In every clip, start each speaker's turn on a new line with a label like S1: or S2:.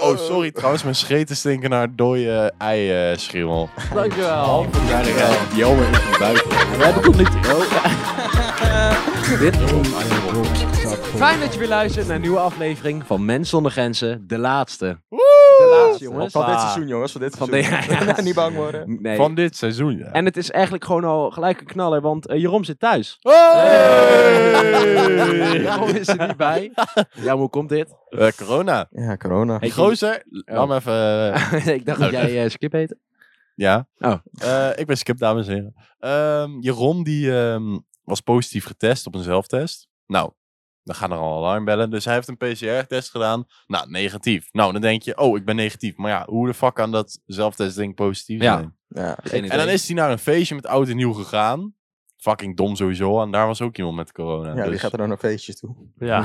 S1: Oh, sorry trouwens, mijn scheten stinken naar dode eierschimmel.
S2: Dankjewel.
S3: Jammer in de buik.
S2: We hebben tot nu toe.
S3: Dit is een
S2: Fijn dat je weer luistert naar een nieuwe aflevering van Mens zonder Grenzen. De laatste.
S1: De
S2: laatste, jongens.
S3: Van dit
S2: Ah.
S3: seizoen, jongens. Van dit
S2: Van
S3: seizoen.
S2: dit- ja.
S3: Niet bang worden.
S2: Nee.
S1: Van dit seizoen, ja.
S2: En het is eigenlijk gewoon al gelijk een knaller, want eh, Jeroen zit thuis. Jeroen is er niet bij. Ja, hoe komt dit?
S1: Eh, corona.
S3: Ja, corona.
S1: Hey,
S2: Oh.
S1: Gozer, laat me even... eh,
S2: ik dacht dat jij eh, Skip heette.
S1: ja.
S2: Oh.
S1: Eh, ik ben Skip, dames en heren. Ehm, Jeroen, die ehm, was positief getest op een zelftest. Nou, dan gaan er al alarmbellen. Dus hij heeft een PCR-test gedaan. Nou, negatief. Nou, dan denk je, oh, ik ben negatief. Maar ja, hoe de fuck kan dat zelftestding positief
S2: Ja.
S1: zijn?
S3: Ja.
S1: En dan is hij naar een feestje met oud en nieuw gegaan. Fucking dom sowieso. En daar was ook iemand met corona.
S3: ja, die
S1: dus-
S3: gaat er dan naar feestjes toe.
S1: Ja.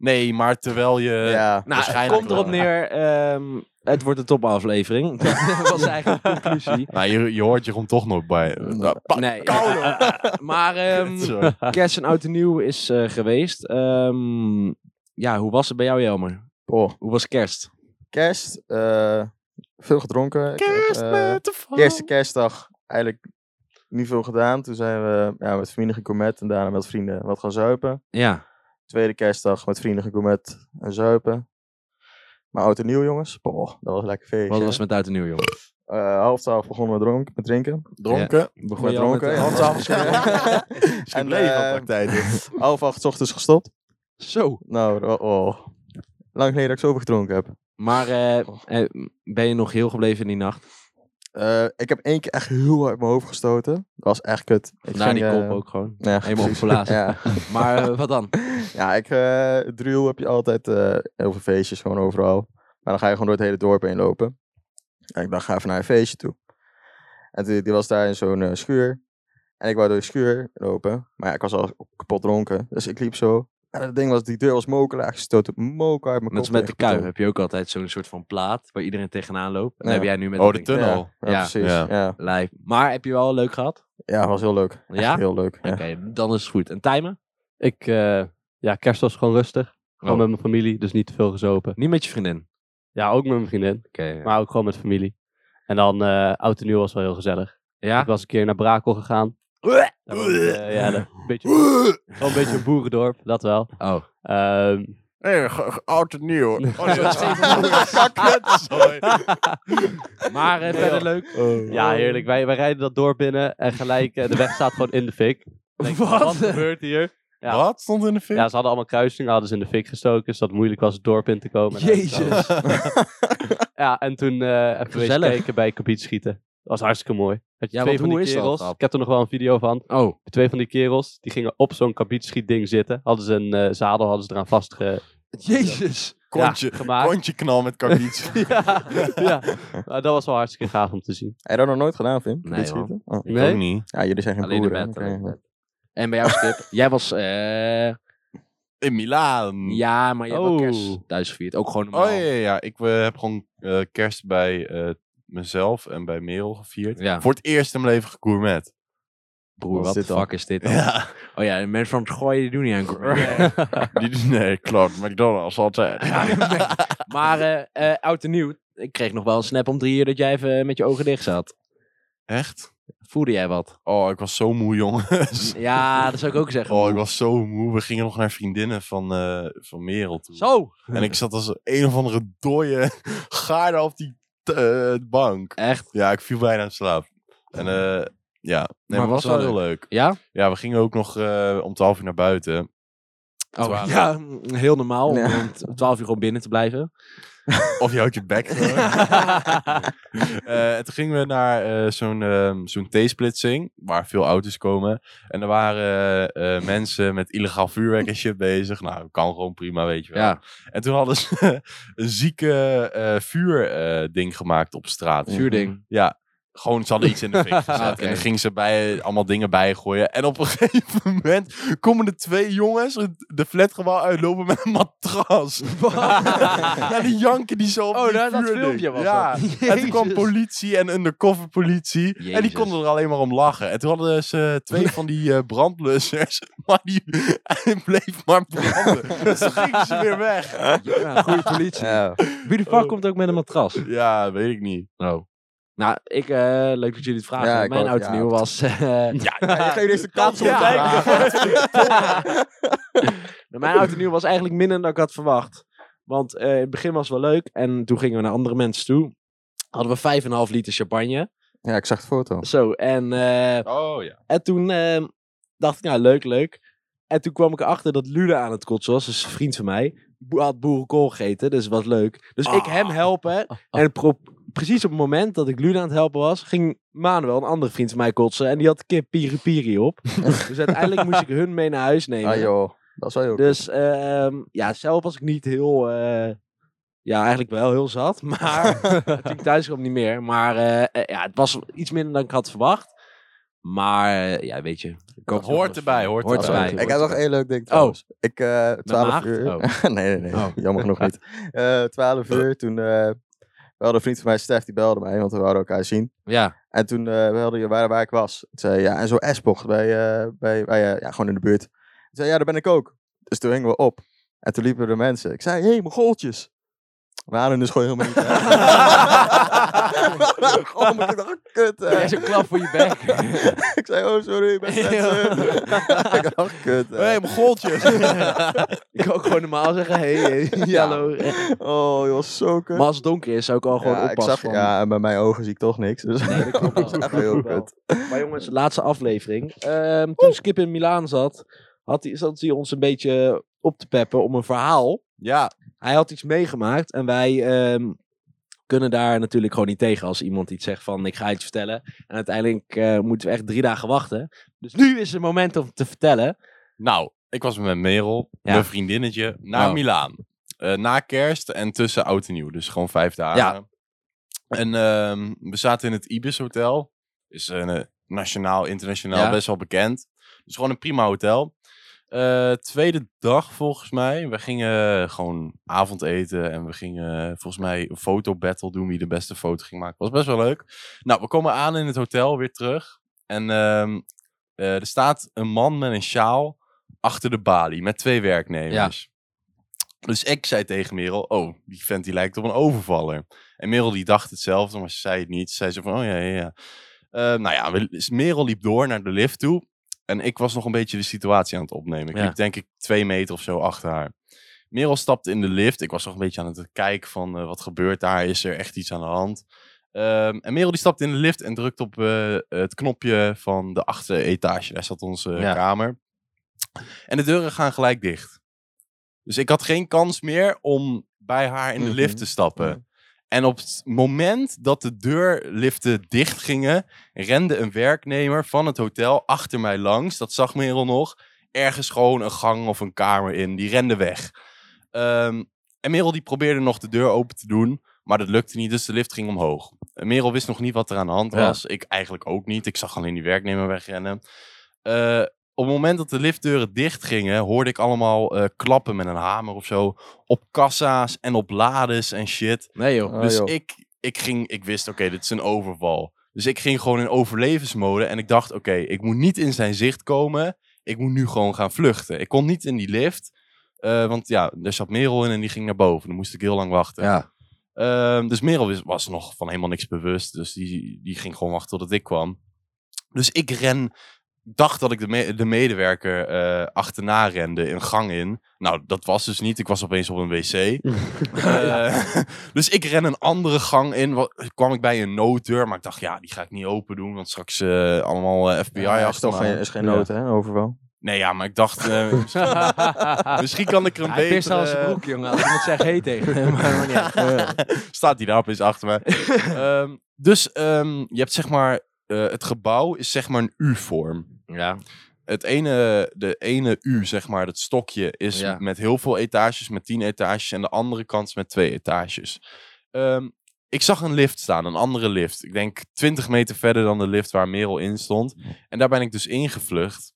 S1: Nee, maar terwijl je...
S3: ja.
S2: Nou, het
S1: Waarschijnlijk
S2: komt erop
S1: wel.
S2: neer. ehm, het wordt een topaflevering. dat was eigenlijk de conclusie.
S1: Nou, je, je hoort Jeroen toch nog bij. Nou, pa-
S2: Nee,
S1: koude.
S2: eh, eh, eh, maar ehm
S1: Sorry.
S2: kerst en oud en nieuw is eh, geweest. Ehm, ja, hoe was het bij jou, Jelmer?
S3: Oh,
S2: Hoe was kerst?
S3: kerst. eh, veel gedronken. Ik heb,
S1: Kerst
S3: eh,
S1: met de vlam.
S3: eerste kerstdag eigenlijk niet veel gedaan. Toen zijn we ja, met familie gecomet en daarna met vrienden wat gaan zuipen.
S2: Ja.
S3: Tweede kerstdag met vrienden gecomet en zuipen. Maar oud en nieuw, jongens. Boah, dat was een lekker feestje.
S2: Wat was het met oud en nieuw, jongen?
S3: Eh, half twaalf begonnen we dronk, met drinken.
S1: Dronken.
S3: Begon met dronken.
S2: met-
S3: half twaalf.
S1: Is
S3: En,
S1: een levenpraktijk.
S3: half acht 's ochtends gestopt.
S2: Zo.
S3: Nou, oh, oh. lang geleden dat ik zoveel gedronken heb.
S2: Maar eh, eh, ben je nog heel gebleven in die nacht?
S3: Eh, ik heb één keer echt heel hard mijn hoofd gestoten. Dat was echt kut. Ik
S2: Naar die
S3: ging,
S2: kop
S3: eh,
S2: ook gewoon.
S3: Ja,
S2: Helemaal
S3: precies.
S2: opgeblazen.
S3: Ja.
S2: Maar eh, wat dan?
S3: Ja, ik, eh drill heb je altijd eh, heel veel feestjes, gewoon overal. Maar dan ga je gewoon door het hele dorp heen lopen. En ik dacht, ga even naar een feestje toe. En die, die was daar in zo'n eh, schuur. En ik wou door de schuur lopen. Maar ja, ik was al kapot dronken. Dus ik liep zo. En dat ding was, die deur was mokelaar gestoten. Mokel uit mijn
S2: Net als
S3: kop.
S2: met de kuip
S3: tegengekomen.
S2: heb je ook altijd zo'n soort van plaat waar iedereen tegenaan loopt. En
S3: Ja.
S2: heb jij nu met
S1: Oh,
S2: dat
S1: de
S2: ding.
S1: tunnel.
S3: Ja, ja,
S2: Ja.
S3: precies.
S1: Ja.
S3: Ja. Ja.
S2: Lijp. Maar heb je wel leuk gehad?
S3: was heel leuk. Echt
S2: Ja?
S3: Heel leuk. Ja.
S2: Oké, dan is het goed. En timen?
S4: Ik, eh, ja, kerst was gewoon rustig. Gewoon
S2: Oh.
S4: met mijn familie, dus niet te veel gezopen.
S2: Niet met je vriendin.
S4: Ja, ook met mijn vriendin,
S2: Oké.
S4: maar ook gewoon met familie. En dan, eh oud en nieuw was wel heel gezellig.
S2: Ja?
S4: Ik was een keer naar Brakel gegaan. Daar woont, eh, ja, daar- een beetje, wel een beetje een boerendorp, dat wel.
S2: Oh.
S4: Ehm,
S1: Hey, ge- ge- oud en nieuw. Oh, nee, dat is geen kut. Sorry.
S2: Maar eh, verder leuk.
S3: Oh.
S4: ja, heerlijk. Wij, wij rijden dat dorp binnen en gelijk, eh, de weg staat gewoon in de fik. Ik denk,
S2: Wat?
S4: Wat gebeurt hier? Ja.
S1: Wat stond in de film?
S4: Ja, ze hadden allemaal kruisingen, hadden ze in de fik gestoken, dus dat het moeilijk was het dorp in te komen.
S2: Jezus.
S4: Ja, en toen eh even wezen
S2: Gezellig.
S4: kijken bij kabiet schieten. Dat was hartstikke mooi. Had je
S2: Ja,
S4: twee
S2: want
S4: van
S2: hoe
S4: die
S2: is dat,
S4: kerels.
S2: Ab?
S4: Ik heb er nog wel een video van.
S2: Oh,
S4: Twee van die kerels, die gingen op zo'n kabietschietding zitten. Hadden ze een eh, zadel, hadden ze eraan vastge...
S2: jezus.
S1: Kontje,
S4: ja, gemaakt.
S1: kontje knal met karbiet.
S4: ja, ja. Maar dat was wel hartstikke gaaf om te zien.
S3: Heb je dat nog nooit gedaan, Vim?
S2: Nee,
S3: Dit
S2: man.
S3: schieten? Oh.
S1: Ook
S4: Nee?
S1: niet.
S3: Ja, jullie zijn geen
S2: Alleen de
S3: boeren.
S2: bed,
S3: oké.
S2: alleen de bed. En bij jou, Skip, jij was... eh,
S1: In Milaan.
S2: ja, maar je hebt wel
S4: Oh.
S2: kerst thuis gevierd. Ook gewoon normaal.
S1: Oh ja, ja, ja. ik eh, heb gewoon eh, kerst bij eh, mezelf en bij Merel gevierd.
S2: Ja.
S1: Voor het eerst in mijn leven gegourmet.
S2: Broer,
S3: Wat
S2: wat
S3: is
S2: de
S3: dit dan?
S2: fuck is dit dan?
S1: Ja.
S2: Oh ja, de mensen van het gooien die doen niet aan gourmet.
S1: Die- dus, nee, klopt. McDonald's altijd.
S2: Maar eh, eh, oud en nieuw, ik kreeg nog wel een snap om drie uur dat jij even eh, met je ogen dicht zat.
S1: Echt?
S2: Voelde jij wat?
S1: Oh, ik was zo moe, jongens.
S2: Ja, dat zou ik ook zeggen.
S1: Oh, ik was zo moe. We gingen nog naar vriendinnen van, eh, van Merel toe.
S2: Zo!
S1: En ik zat als een of andere dooie gaarde op die eh, bank.
S2: Echt?
S1: Ja, ik viel bijna in slaap. En eh, ja, nee, maar het was wel heel leuk.
S2: Ja?
S1: Ja, we gingen ook nog eh, om 12 uur naar buiten.
S2: Oh,
S1: Twaalf.
S2: ja, heel normaal om
S3: Ja.
S2: om t- 12 uur gewoon binnen te blijven.
S1: Of je houdt je bek gewoon. Eh, en toen gingen we naar eh, zo'n ehm, zo'n T-splitsing, waar veel auto's komen. En er waren eh, eh, mensen met illegaal vuurwerk en shit bezig. Nou, kan gewoon prima, weet je wel.
S2: ja,
S1: En toen hadden eh, ze een zieke vuurding gemaakt op straat.
S2: vuurding.
S1: Ja, Gewoon, ze hadden iets in de fik gezet.
S3: Ah, oké.
S1: En dan ging ze bij, allemaal dingen bijgooien. En op een gegeven moment komen er twee jongens de flatgebouw uitlopen met een matras. ja, die janken die zo op
S2: Oh,
S1: die
S2: dat- dat
S1: vuurding.
S2: filmpje was
S1: ja.
S2: dat.
S1: En toen kwam politie en undercover politie. En die
S2: Jezus.
S1: konden er alleen maar om lachen. En toen hadden ze twee van die eh, brandblussers. Maar die hij bleef maar branden. dus toen gingen ze weer weg.
S2: Ja, goede politie.
S3: Ja. Oh.
S2: Wie de fuck komt ook met een matras?
S1: Ja, weet ik niet.
S2: Nou, nou ik, eh, leuk dat jullie het vragen.
S3: Ja, ik
S2: Mijn
S3: ook,
S2: oud en
S3: ja.
S2: nieuw was... eh,
S3: Ja, je geeft deze kans om
S1: Ja.
S3: te praten.
S2: Nou, Mijn oud en nieuw was eigenlijk minder dan ik had verwacht. Want eh, in het begin was het wel leuk. En toen gingen we naar andere mensen toe. Hadden we 5,5 liter champagne.
S3: Ja, ik zag de foto.
S2: Zo, en, eh,
S1: Oh ja.
S2: en toen eh, dacht ik, nou leuk, leuk. En toen kwam ik erachter dat Lule aan het kotsen was. Dus een vriend van mij. Bo- had boerenkool gegeten, dus was leuk. Dus
S3: Ah.
S2: ik hem helpen. En pro- precies op het moment dat ik Lule aan het helpen was... ging Manuel, een andere vriend van mij, kotsen. En die had kip piri piri op. dus uiteindelijk moest ik hun mee naar huis nemen.
S3: Ah joh, dat is wel heel
S2: Dus ehm, ja, zelf was ik niet heel. eh, ja, eigenlijk wel heel zat. Maar toen ik thuis kwam niet meer. Maar eh, eh, ja, het was iets minder dan ik had verwacht. Maar eh, ja, weet je. Ik hoop
S1: Hoort erbij, hoort,
S2: Hoort
S3: Dat is
S1: erbij.
S2: erbij.
S3: wel leuk. Ik heb nog één leuk ding
S2: Oh.
S3: trouwens. Ik, eh 12
S2: maagd?
S3: uur.
S2: Oh.
S3: nee, nee, nee.
S2: Oh.
S3: Jammer genoeg niet. Eh 12 uur, toen... eh we hadden een vriend van mij, Stef, die belde mij, want we wilden elkaar zien.
S2: Ja.
S3: En toen eh we hadden je waar, waar ik was. Toen zei hij, ja, en zo Espocht, bij, eh bij, bij eh, ja, gewoon in de buurt. Toen zei hij, ja, daar ben ik ook. Dus toen hingen we op. En toen liepen er mensen. Ik zei, hé, hey, goaltjes. We waren dus gewoon helemaal niet. thuis. Gewoon, maar ik dacht, oh, kut. hè.
S4: een klap voor je bek.
S3: ik zei, oh, sorry, ik ben Stetson. ik dacht, "Oh, kut. hè.
S1: Eh, hey, mijn goaltjes.
S2: Ik kan ook gewoon normaal zeggen: hey, hey,
S3: Ja.
S2: hallo. Eh,
S3: Oh, je was zo kut.
S2: Maar als het donker is, zou ik al gewoon
S3: ja, ik
S2: oppassen.
S3: zag,
S2: van-
S3: ja, en bij mijn ogen zie ik toch niks. Dus
S2: Nee, dat klopt
S3: dat is
S2: wel.
S3: echt heel
S2: Dat klopt
S3: kut.
S2: Maar jongens, de laatste aflevering. Ehm, toen Skip in Milaan zat, had hij, zat hij ons een beetje op te peppen om een verhaal.
S1: ja,
S2: Hij had iets meegemaakt en wij ehm, kunnen daar natuurlijk gewoon niet tegen als iemand iets zegt van ik ga iets vertellen. En uiteindelijk eh, moeten we echt drie dagen wachten. Dus nu is het moment om te vertellen.
S1: nou, ik was met Merel,
S2: Ja.
S1: mijn vriendinnetje, naar
S2: Oh.
S1: Milaan. Eh, na kerst en tussen oud en nieuw. Dus gewoon vijf dagen.
S2: Ja.
S1: En ehm, we zaten in het Ibis Hotel. Is een eh, nationaal, internationaal
S2: Ja.
S1: best wel bekend. Dus gewoon een prima hotel. Eh, tweede dag volgens mij. We gingen gewoon avondeten en we gingen volgens mij een fotobattle doen wie de beste foto ging maken. Was best wel leuk. Nou, we komen aan in het hotel weer terug. En ehm, eh, er staat een man met een sjaal achter de balie met twee werknemers. Dus ik zei tegen Merel, oh, die vent die lijkt op een overvaller. En Merel die dacht hetzelfde, maar ze zei het niet. Ze zei zo van, oh ja, ja, ja. Eh, nou ja, we- dus Merel liep door naar de lift toe. En ik was nog een beetje de situatie aan het opnemen. Ik
S2: Ja.
S1: liep denk ik twee meter of zo achter haar. Merel stapte in de lift. Ik was nog een beetje aan het kijken van, eh, wat gebeurt daar? Is er echt iets aan de hand? Ehm, en Merel die stapte in de lift en drukt op eh, het knopje van de achteretage. Daar zat onze eh,
S2: Ja.
S1: kamer. En de deuren gaan gelijk dicht. Dus ik had geen kans meer om bij haar in de
S3: Mhm.
S1: lift te stappen.
S3: Ja.
S1: En op het moment dat de deurliften dicht gingen, rende een werknemer van het hotel achter mij langs. Dat zag Merel nog. Ergens gewoon een gang of een kamer in. Die rende weg. Ehm, en Merel die probeerde nog de deur open te doen. Maar dat lukte niet, dus de lift ging omhoog. En Merel wist nog niet wat er aan de hand
S2: Ja.
S1: was. Ik eigenlijk ook niet. Ik zag alleen die werknemer wegrennen. Eh, op het moment dat de liftdeuren dicht gingen, hoorde ik allemaal eh, klappen met een hamer of zo. Op kassa's en op lades en shit.
S2: Nee Ah, joh.
S3: Oh,
S1: Dus
S3: joh.
S1: ik, ik, ging, ik wist, oké, dit is een overval. Dus ik ging gewoon in overlevensmode en ik dacht, oké, ik moet niet in zijn zicht komen. Ik moet nu gewoon gaan vluchten. Ik kon niet in die lift, eh, want ja, er zat Merel in en die ging naar boven. Dan moest ik heel lang wachten.
S2: Ja.
S1: Ehm, dus Merel was, was nog van helemaal niks bewust. Dus die, die ging gewoon wachten totdat ik kwam. Dus ik ren, dacht dat ik de, me- de medewerker eh, achterna rende, een gang in. Nou, dat was dus niet. Ik was opeens op een wc. Eh, dus ik ren een andere gang in. Wa- kwam ik bij een nooddeur, maar ik dacht, ja, die ga ik niet open doen. Want straks eh, allemaal eh, FBI
S3: Ja, is
S1: achter
S3: toch
S1: me.
S3: geen, is geen
S2: Ja.
S3: nood, hè, overal.
S1: Nee, ja, maar ik dacht, eh, misschien, misschien kan ik er een
S2: Hij pist
S1: betere...
S2: al zijn broek, jongen. Als iemand zegt hey tegen hem. Maar dat maakt niet uit.
S1: Staat die daar opeens achter me. Ehm, dus ehm, je hebt zeg maar, eh, het gebouw is zeg maar een U-vorm.
S2: Ja.
S1: Het ene, de ene U, zeg maar, dat stokje, is
S2: Ja.
S1: met heel veel etages, met tien etages. En de andere kant is met twee etages. Ehm, Ik zag een lift staan, een andere lift. Ik denk 20 meter verder dan de lift waar Merel in stond. En daar ben ik dus ingevlucht.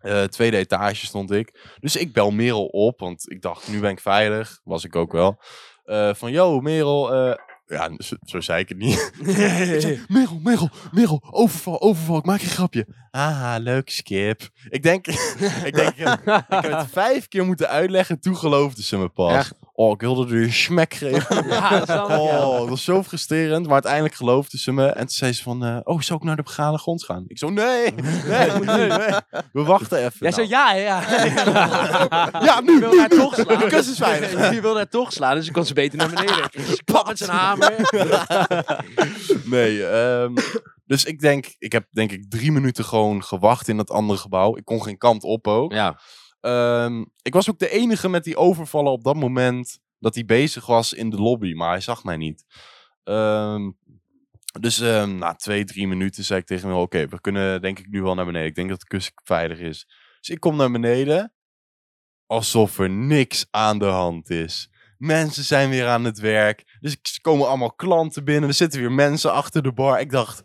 S1: Eh, tweede etage stond ik. Dus ik bel Merel op, want ik dacht, nu ben ik veilig. Was ik ook wel. Eh, van, yo, Merel. eh, ja, zo, zo zei ik het niet. Ik zei, Merel, Merel, Merel, overval, overval. Ik maak een grapje. Haha, leuk, skip. Ik denk, ik denk, ik heb, ik heb het vijf keer moeten uitleggen. Toen geloofde ze me pas.
S3: Echt?
S1: Oh, ik wilde er een smek geven.
S4: Ja, dat snap ik, ja.
S1: Oh, dat was zo frustrerend. Maar uiteindelijk geloofde ze me. En toen zei ze van, eh, oh, zou ik naar de begane grond gaan? Ik zo, nee, nee, nee, nee. We wachten even.
S2: Jij
S1: Nou,
S2: zei ja, hè, ja.
S1: ja, nu,
S2: Ik wil
S1: nu,
S2: haar
S1: nu.
S2: toch slaan.
S1: De kussens veilig.
S2: Je wil daar toch slaan, dus je kon ze beter naar beneden. Klap met zijn hamer.
S1: Nee, ehm, dus ik denk, ik heb denk ik drie minuten gewoon gewacht in dat andere gebouw. Ik kon geen kant op ook.
S2: Ja.
S1: Ehm, ik was ook de enige met die overvallen op dat moment dat hij bezig was in de lobby, maar hij zag mij niet. Ehm, dus ehm, na twee, drie minuten zei ik tegen hem, oké, we kunnen denk ik nu wel naar beneden. Ik denk dat de kussen veilig is. Dus ik kom naar beneden, alsof er niks aan de hand is. Mensen zijn weer aan het werk. Dus er komen allemaal klanten binnen. Er zitten weer mensen achter de bar. Ik dacht,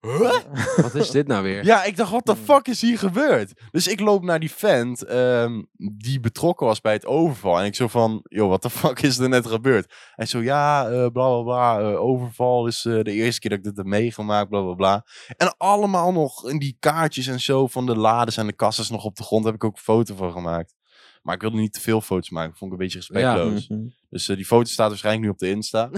S1: huh?
S2: Wat is dit nou weer?
S1: Ja, ik dacht, wat de fuck is hier gebeurd? Dus ik loop naar die vent ehm, die betrokken was bij het overval. En ik zo van, joh, wat de fuck is er net gebeurd? Hij zo, ja, eh, bla bla bla, eh, overval is eh, de eerste keer dat ik dit heb meegemaakt, bla bla bla. En allemaal nog in die kaartjes en zo van de lades en de kassas nog op de grond. Daar heb ik ook een foto van gemaakt. Maar ik wilde niet te veel foto's maken, vond ik een beetje respectloos.
S3: hm,
S1: Dus eh, die foto staat waarschijnlijk nu op de Insta.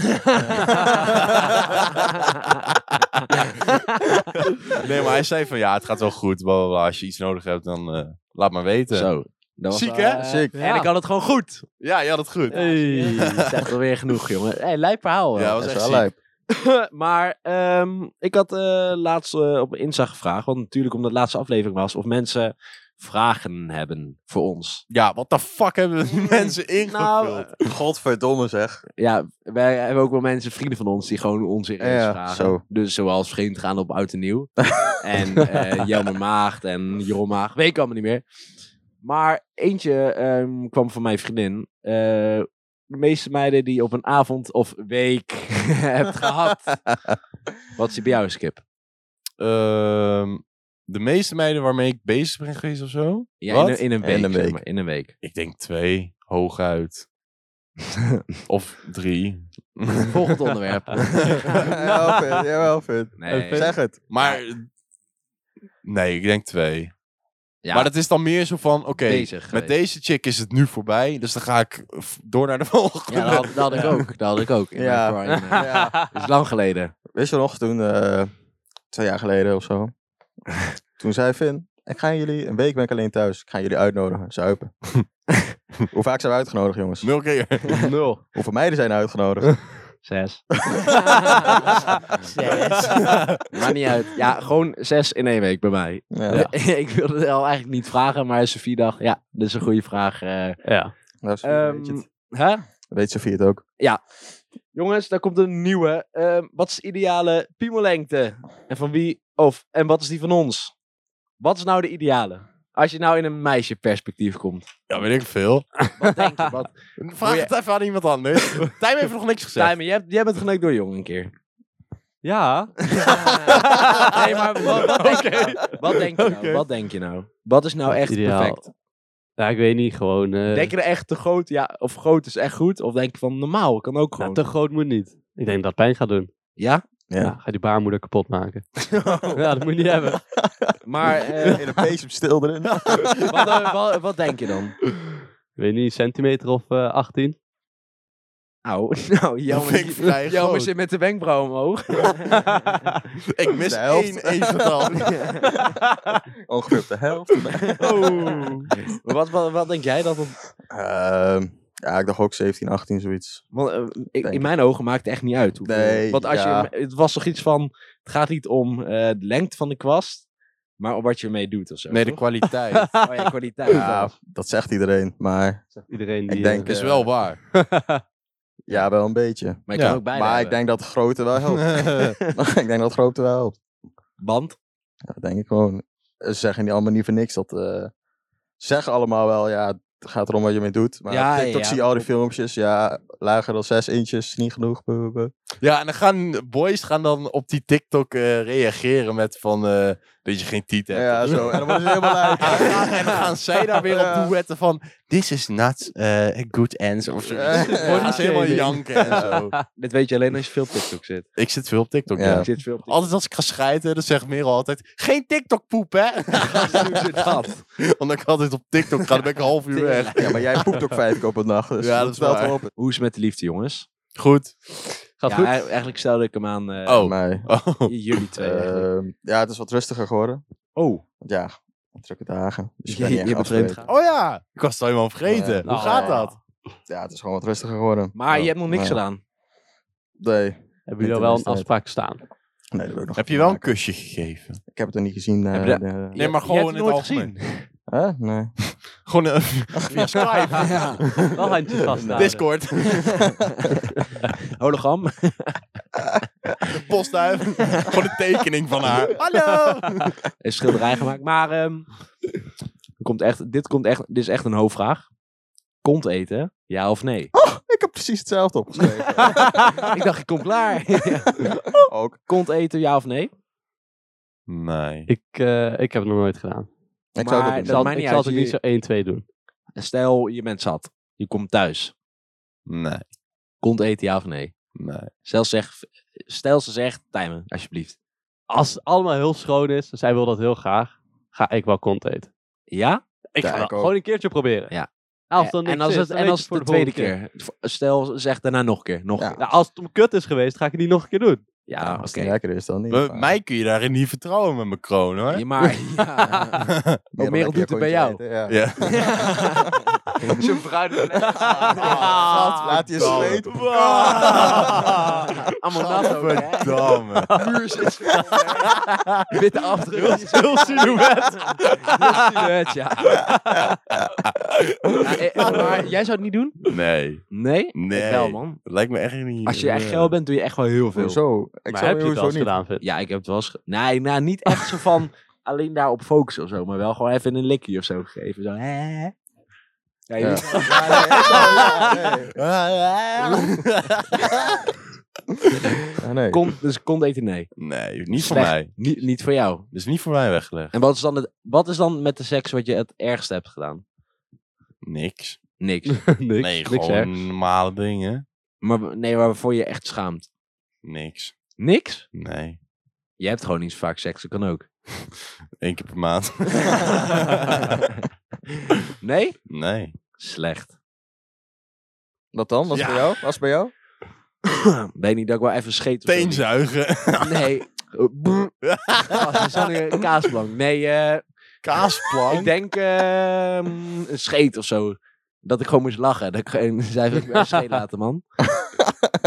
S1: Nee, maar hij zei van, ja, het gaat wel goed, bla bla bla. Als je iets nodig hebt, dan eh, laat maar weten.
S2: Zo. dat was
S1: Ziek,
S2: wel,
S1: hè?
S2: eh,
S3: Ziek.
S2: En ik had het gewoon goed.
S1: Ja, je had het goed.
S2: Hey, dat is echt wel weer genoeg, jongen. Hey, lijp verhaal.
S1: Ja,
S2: Ja,
S1: was
S3: Dat is
S1: echt
S3: wel
S1: ziek.
S3: lijp.
S2: maar ehm, ik had eh, laatst eh, op Insta gevraagd, want natuurlijk omdat het laatste aflevering was, of mensen vragen hebben voor ons.
S1: Ja, wat de fuck hebben die mensen ingevuld?
S2: Nou,
S3: Godverdomme zeg.
S2: Ja, wij hebben ook wel mensen, vrienden van ons, die gewoon onserieus
S3: Ja,
S2: vragen.
S3: zo.
S2: Dus zoals vreemd gaan op Oud en Nieuw. en eh Jelmer Maagd en Jeroen Maagd, weet ik allemaal niet meer. Maar eentje ehm, kwam van mijn vriendin. Eh, de meeste meiden die op een avond of week hebt gehad. Wat is die bij jou, Skip?
S1: Ehm, de meeste meiden waarmee ik bezig ben geweest of zo?
S2: Ja,
S1: Wat?
S2: in, een- in een
S3: In
S2: week.
S3: een
S2: zeg
S3: week.
S2: maar, in een week.
S1: Ik denk twee, hooguit. of drie.
S2: Volgend onderwerp.
S3: Jawel, Fit. Jawel, Fit.
S2: Nee.
S3: Zeg het.
S1: Maar... Nee, ik denk twee.
S2: Ja,
S1: Maar dat is dan meer zo van, oké,
S2: bezig
S1: met
S2: geweest.
S1: deze chick is het nu voorbij. Dus dan ga ik eh, f- door naar de volgende.
S2: Ja, dat had, dat had ik ook. Dat had ik ook. In
S3: Ja.
S2: mijn prime, eh.
S3: Ja.
S2: Dat is lang geleden.
S3: Wist je nog toen, eh, twee jaar geleden of zo, toen zei Finn, ik ga jullie, een week ben ik alleen thuis, ik ga jullie uitnodigen, zuipen. Hoe vaak zijn we uitgenodigd, jongens?
S1: Nul keer.
S4: Nul.
S3: Hoeveel meiden zijn er uitgenodigd?
S4: Zes.
S2: Maakt niet uit. Ja, gewoon zes in één week bij mij.
S3: Ja,
S2: ik wilde het al eigenlijk niet vragen, maar Sofie dacht, ja, dat is een goede vraag. eh.
S4: Ja.
S3: dat is- weet, je
S2: Ehm,
S3: het.
S2: hè?
S3: weet Sofie het ook.
S2: Jongens, daar komt een nieuwe. Ehm, wat is de ideale piemellengte? En van wie? Of, en wat is die van ons? Wat is nou de ideale? Als je nou in een meisjeperspectief komt.
S1: Ja, weet ik veel.
S2: Wat denk je? Wat?
S1: Vraag het even aan iemand anders. Tijm heeft nog niks gezegd.
S2: Simon, jij, jij bent geneukt door jong een keer.
S4: Ja.
S2: Nee, maar wat, wat denk je nou? Wat denk je nou?
S4: Oké.
S2: Wat denk je nou? Wat is nou echt
S4: Ideaal.
S2: perfect?
S4: Ja, ik weet niet. Gewoon. eh,
S2: Denk je er echt te groot, ja, of groot is echt goed? Of denk je van normaal, kan ook
S4: nou,
S2: gewoon.
S4: te groot moet niet. Ik denk dat het pijn gaat doen.
S2: Ja, Oh.
S3: Ja.
S4: Ja, ga die baarmoeder kapot maken. Ja, dat moet je niet hebben.
S2: maar eh,
S3: In een bezem stil erin.
S2: wat, eh, wat, wat denk je dan?
S4: Ik weet niet, centimeter of eh 18.
S2: Nou, nou jammer,
S1: vind ik vrij
S2: jammer
S1: groot.
S2: zit met de wenkbrauw omhoog.
S1: Ik mis
S3: De helft.
S1: één evental.
S3: Ongeveer op de helft.
S2: wat, wat, wat denk jij dat? het-
S3: Ehm, ja, ik dacht ook 17, 18, zoiets.
S2: Want, eh, ik-
S3: Denk
S2: in mijn ogen maakt het echt niet uit. hoeveel-
S3: Nee,
S2: Want als
S3: ja.
S2: je, het was toch iets van, het gaat niet om eh, de lengte van de kwast, maar om wat je ermee doet of zo.
S1: Nee, de
S2: toch?
S1: kwaliteit.
S2: Oh ja, kwaliteit.
S3: Ja, dat zegt iedereen, maar
S4: Iedereen die.
S3: ik denk...
S1: is
S3: eh,
S1: wel waar.
S3: Ja, wel een beetje.
S2: Maar je kan
S1: Ja,
S2: ook bijna
S3: Maar ik
S2: hebben.
S3: denk dat grootte wel helpt. ik denk dat grootte wel helpt.
S2: Band?
S3: Ja, dat denk ik gewoon. Ze zeggen niet allemaal niet voor niks dat. eh, ze zeggen allemaal wel, ja, gaat erom wat je mee doet. Maar
S2: Ja,
S3: op
S2: ja,
S3: TikTok
S2: ja.
S3: zie je al die filmpjes. Ja, lager dan 6 inches, is niet genoeg. buh, buh, buh.
S1: Ja, en dan gaan boys gaan dan op die TikTok eh, reageren met van eh, dat je geen tiet hebt.
S3: Ja, zo. En dan worden ze helemaal uit.
S1: En dan gaan- en dan gaan zij daar weer op
S3: Ja.
S1: duetten van... This is not eh, a good answer. Of zo.
S3: Ja.
S1: Worden ze helemaal
S2: Ja.
S1: janken en zo.
S2: Dit weet je alleen als je veel op TikTok zit.
S1: Ik zit veel op TikTok,
S3: Ja.
S1: ja.
S2: Ik zit veel op TikTok.
S1: Altijd als ik ga scheiden, dan zegt Merel altijd... Geen TikTok-poep, hè?
S2: dat.
S1: Omdat ik altijd op TikTok ga, dan ben ik een half uur weg.
S3: Ja, maar jij poept ook vijf keer op een dag. Dus
S1: Ja, dat
S3: dat
S1: is
S3: stelt
S1: waar.
S3: wel op.
S2: Hoe is Oh. het met de liefde, jongens?
S1: Goed.
S4: Gaat
S2: ja,
S4: goed?
S2: e- Eigenlijk stelde ik hem aan eh,
S1: Oh.
S3: Mij.
S1: Oh.
S2: jullie twee. eigenlijk.
S3: Ehm, ja, het is wat rustiger geworden.
S2: oh,
S3: Want ja, drukke dagen. Dus je
S2: je,
S3: bent
S2: je
S3: niet echt
S2: bent vreemd
S3: afgewezen.
S1: Oh
S2: gegaan.
S1: ja, ik was het helemaal vergeten.
S3: Ja.
S1: Hoe
S4: Oh.
S2: Oh,
S1: gaat dat?
S3: Ja, het is gewoon wat rustiger geworden.
S2: Maar
S1: Oh,
S2: je hebt nog niks
S3: maar-
S2: gedaan.
S3: Nee.
S4: Hebben jullie al wel een
S3: Tenminste.
S4: afspraak staan?
S3: Nee, dat wil ik nog
S1: Heb je
S3: niet
S1: wel een
S3: maken.
S1: kusje gegeven?
S3: Ik heb het er niet gezien. eh,
S2: Heb je-
S3: de-
S1: Nee, maar
S2: Je-
S1: gewoon
S2: je hebt
S1: in
S2: het nooit
S1: het algemeen.
S2: gezien.
S3: Hè? Nee.
S1: Gewoon eh, via Skype.
S4: Wel handjes vasthouden.
S1: Discord.
S2: Hologram.
S1: De postduif. Gewoon een tekening van haar. Hallo!
S2: Is schilderij gemaakt. Maar ehm, komt echt, dit, komt echt, dit is echt een hoofdvraag. Kont eten, ja of nee?
S3: Ik heb precies hetzelfde opgeschreven.
S2: ik dacht, ik kom klaar.
S3: Ook.
S2: Kont eten, ja of nee?
S1: Nee.
S4: Ik, eh, ik heb het nog nooit gedaan.
S3: Ik zou het
S2: Maar
S3: ook niet
S4: Ik
S2: dat
S4: zal,
S2: maakt
S4: ik
S2: niet
S4: zal
S2: uit,
S4: het ook niet
S2: je-
S4: zo 1, 2 doen.
S2: Stel, je bent zat. Je komt thuis.
S1: Nee.
S2: Kont eten, ja of nee?
S1: Nee.
S2: Stel, zeg, stel ze zegt, timen, alsjeblieft.
S4: Als het allemaal heel schoon is, en zij wil dat heel graag, ga ik wel kont eten.
S2: Ja?
S4: Ik
S3: Ja,
S4: ga
S3: ik
S4: dat
S3: ook.
S4: gewoon een keertje proberen. Nou,
S2: Ja.
S4: Als dan
S2: en
S4: niks
S2: als
S4: is,
S2: het,
S4: dan
S2: en
S4: weet
S2: als
S4: je
S2: het
S4: voor
S2: de tweede
S4: volgende
S2: keer. Stel, ze zegt daarna nog een keer. Nog
S3: Ja.
S2: een keer.
S4: Nou, als het om kut is geweest, ga ik het niet nog een keer doen.
S2: Ja,
S3: Ja,
S2: Ah, oké.
S3: als het niet lekker is, dan niet.
S1: Me-
S3: maar-
S1: mij kun je daarin niet vertrouwen met mijn kroon hoor.
S2: Ja, maar ja. Merel
S3: Merel, lekker
S2: doet het bij
S3: kontje
S2: jou.
S3: eten, ja.
S1: Ja.
S2: Zijn bruid.
S1: Ah,
S3: Gat, laat je
S1: verdomme.
S3: zweet.
S2: Allemaal nat ook, hè?
S1: Verdamme.
S2: Muur zit Witte afdruk.
S4: Heel silhouet.
S2: Silhouet, ja. Ja, eh, eh, maar jij zou het niet doen?
S1: Nee.
S2: Nee?
S1: Nee.
S2: Ik wel, man.
S1: Dat lijkt me echt niet.
S2: Als je echt geil bent, doe je echt wel heel veel.
S3: Hoezo? Ik
S4: Maar
S3: zou
S4: heb je
S3: sowieso
S4: het wel eens
S3: niet.
S4: gedaan, Fit?
S2: Ja, ik heb het wel eens... ge- Nee, nou, niet echt zo van alleen daarop focussen of zo. Maar wel gewoon even een likkie of zo gegeven. Zo, hè? Ja, je
S3: Ja.
S2: doet-
S3: Ja, nee, nee, nee. Ja, nee.
S2: Kon, dus kont eten nee.
S1: Nee, niet voor
S2: Slecht.
S1: mij.
S2: Niet, niet voor jou.
S1: Dat is niet voor mij weggelegd.
S2: En wat is, dan het, wat is dan met de seks wat je het ergste hebt gedaan?
S1: Niks.
S2: Niks.
S4: niks,
S1: nee,
S4: niks
S1: gewoon
S4: ergs.
S1: normale dingen.
S2: maar, nee, waarvoor je echt schaamt.
S1: Niks.
S2: Niks?
S1: Nee.
S2: Je hebt gewoon niet zo vaak seks, dat kan ook.
S1: Eén keer per maand.
S2: nee?
S1: nee.
S2: Slecht.
S3: Wat dan? Was het bij jou? Was het bij jou?
S2: Nou, Weet niet dat ik wel even scheet. of zo niet.
S1: Teenzuigen.
S2: Nee. Oh, Eh, brr. Gast, we staan hier een kaasplank. Nee, eh,
S1: Kaasplank.
S2: ik denk eh, mm, een scheet of zo. Dat ik gewoon moest lachen. Dat ik gewoon zei, "Wil ik me even scheet laten, man.